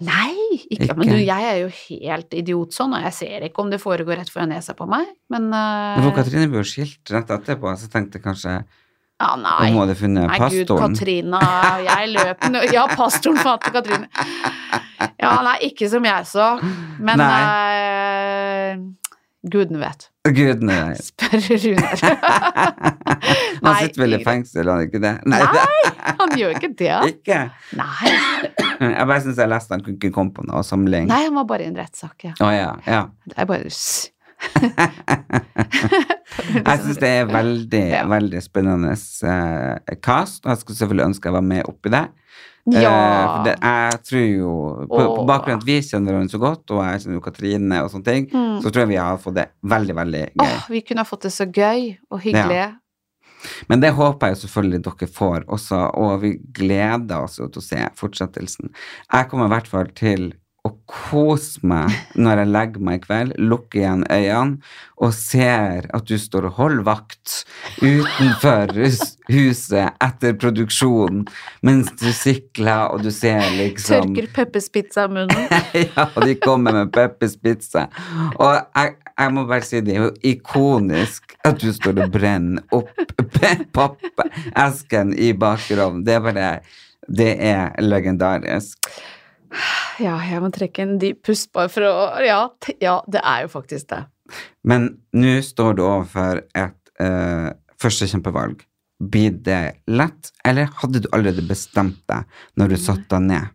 [SPEAKER 2] Nei, ikke,
[SPEAKER 1] Ikke?
[SPEAKER 2] men du, jeg er jo helt idiot sånn, og jeg ser ikke om det foregår rett foran nesa på meg, men eh,
[SPEAKER 1] For Katrine ble jo skilt rett etterpå, så jeg tenkte kanskje
[SPEAKER 2] ja,
[SPEAKER 1] om hun
[SPEAKER 2] nei.
[SPEAKER 1] hadde funnet
[SPEAKER 2] Nei, gud,
[SPEAKER 1] pastoren.
[SPEAKER 2] Katrina, jeg løp nå Ja, pastoren fant Katrine. Ja, nei, ikke som jeg så, men eh, Gudene vet.
[SPEAKER 1] Gud, nei.
[SPEAKER 2] Spør Runar.
[SPEAKER 1] Han sitter vel i fengsel, han er ikke det? Nei, det
[SPEAKER 2] Nei, han gjør ikke det.
[SPEAKER 1] er ikke.
[SPEAKER 2] Nei,
[SPEAKER 1] Jeg bare syns jeg leste han kunne ikke komme på noe samling.
[SPEAKER 2] nei han var bare i en rettssak, ja.
[SPEAKER 1] Å ja, ja.
[SPEAKER 2] Det er bare s- sånn
[SPEAKER 1] Jeg syns det er veldig,
[SPEAKER 2] Ja.
[SPEAKER 1] veldig spennende eh, cast, og jeg skulle selvfølgelig ønske jeg var med oppi det. Eh,
[SPEAKER 2] Ja.
[SPEAKER 1] for det, jeg tror jo På, på
[SPEAKER 2] Åh.
[SPEAKER 1] bakgrunn av at vi kjenner hverandre så godt, og jeg kjenner jo Katrine og sånne ting,
[SPEAKER 2] Mm.
[SPEAKER 1] så tror jeg vi har fått det veldig, veldig gøy.
[SPEAKER 2] Åh, vi kunne ha fått det så gøy og hyggelig.
[SPEAKER 1] Men det håper jeg jo selvfølgelig dere får også, og vi gleder oss jo til å se fortsettelsen. Jeg kommer i hvert fall til å kose meg når jeg legger meg i kveld, lukker igjen øynene og ser at du står og holder vakt utenfor hus- huset etter produksjonen mens du sikler og du ser liksom
[SPEAKER 2] Tørker Peppers pizza i munnen.
[SPEAKER 1] ja, og de kommer med Peppers pizza. Og jeg, jeg må bare si det er jo ikonisk at du står og brenner opp pe- pappesken i bakerovnen. Det er bare Det er legendarisk.
[SPEAKER 2] Ja, jeg må trekke en dyp pust bare for å ja, t ja, det er jo faktisk det.
[SPEAKER 1] Men nå står du overfor et eh, første kjempevalg. Blir det lett, eller hadde du allerede bestemt deg når du satte deg ned?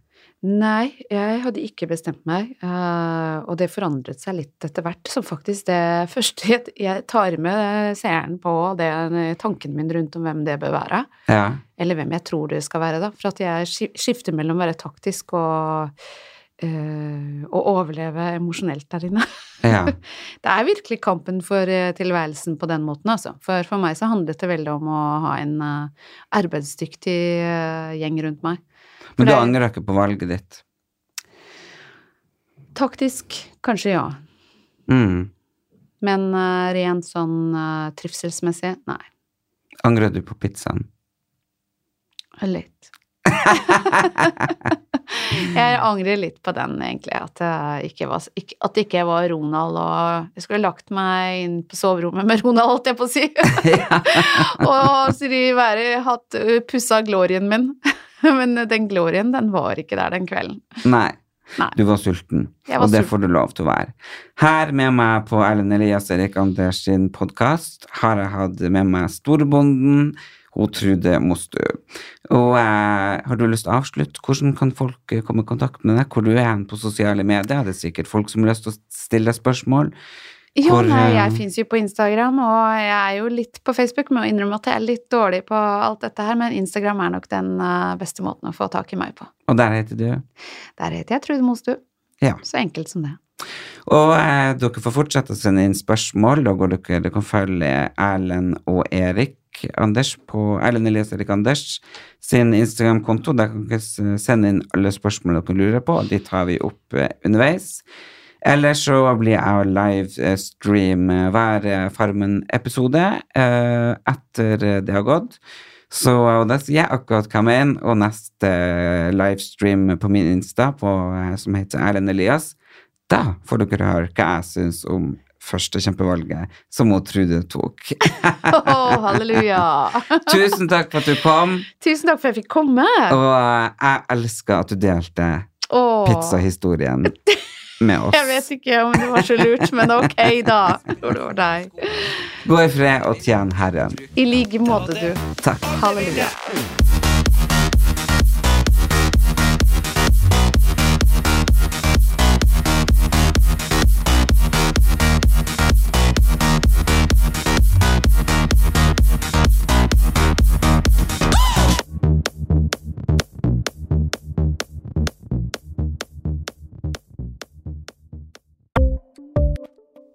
[SPEAKER 2] Nei, jeg hadde ikke bestemt meg, eh, og det forandret seg litt etter hvert. Så faktisk det første jeg- jeg tar med seeren på det, tanken min rundt om hvem det bør være,
[SPEAKER 1] Ja.
[SPEAKER 2] eller hvem jeg tror det skal være, da. For at jeg ski- skifter mellom å være taktisk og eh, å overleve emosjonelt der inne.
[SPEAKER 1] Ja.
[SPEAKER 2] Det er virkelig kampen for eh, tilværelsen på den måten, altså. For for meg så handlet det veldig om å ha en eh, arbeidsdyktig eh, gjeng rundt meg.
[SPEAKER 1] Men du
[SPEAKER 2] det-
[SPEAKER 1] angrer ikke på valget ditt?
[SPEAKER 2] Taktisk, kanskje ja.
[SPEAKER 1] Mm.
[SPEAKER 2] Men eh, rent sånn eh, trivselsmessig, nei.
[SPEAKER 1] Angrer du på pizzaen?
[SPEAKER 2] Litt. jeg angrer litt på den, egentlig. At det ikke var, ikke, at det ikke var Ronald og Jeg skulle lagt meg inn på soverommet med Ronald, holdt jeg på å si. og Siri være hatt uh, pussa glorien min. Men den glorien, den var ikke der den kvelden.
[SPEAKER 1] Nei.
[SPEAKER 2] Nei.
[SPEAKER 1] Du var sulten,
[SPEAKER 2] Jeg var
[SPEAKER 1] og det
[SPEAKER 2] sulten.
[SPEAKER 1] får du lov til å være. Her med meg på Erlend Elias Erik Anders sin podkast har jeg hatt med meg storbonden, hun Trude Mostu. Og eh, har du lyst til å avslutte? Hvordan kan folk eh, komme i kontakt med deg? Hvor du er hen på sosiale medier? Det er sikkert folk som har lyst til å stille deg spørsmål.
[SPEAKER 2] Jo,
[SPEAKER 1] Hvor,
[SPEAKER 2] nei, jeg
[SPEAKER 1] eh,
[SPEAKER 2] fins jo på Instagram, og jeg er jo litt på Facebook. Må innrømme at jeg er litt dårlig på alt dette her, men Instagram er nok den eh, beste måten å få tak i meg på.
[SPEAKER 1] Og der heter du?
[SPEAKER 2] Der heter jeg Trude Mostu.
[SPEAKER 1] Ja.
[SPEAKER 2] Så enkelt som det.
[SPEAKER 1] Og eh, dere får fortsette å sende inn spørsmål. Da går dere, dere kan følge Erlend og Erik Anders på Erlend Elias Erik Anders sin Instagram-konto. Der kan dere s- sende inn alle spørsmål dere lurer på, og de tar vi opp eh, underveis. Eller så blir jeg og livestream hver eh, Farmen-episode eh, etter eh, det har gått. Så eh, og da sier jeg akkurat hva jeg mener, og neste eh, livestream på min Insta, på, eh, som heter Erlend Elias, da får dere høre hva jeg syns om første kjempevalget som hun Trude tok.
[SPEAKER 2] Å, halleluja!
[SPEAKER 1] Tusen takk for at du kom,
[SPEAKER 2] Tusen takk for at jeg fikk komme.
[SPEAKER 1] og jeg elsker at du delte
[SPEAKER 2] Åh,
[SPEAKER 1] pizzahistorien med
[SPEAKER 2] Jeg vet
[SPEAKER 1] oss.
[SPEAKER 2] ikke om det var så lurt, men ok, da. Tror det var deg.
[SPEAKER 1] Gå i fred og tjen Herren.
[SPEAKER 2] I like måte, du.
[SPEAKER 1] Takk.
[SPEAKER 2] Halleluja.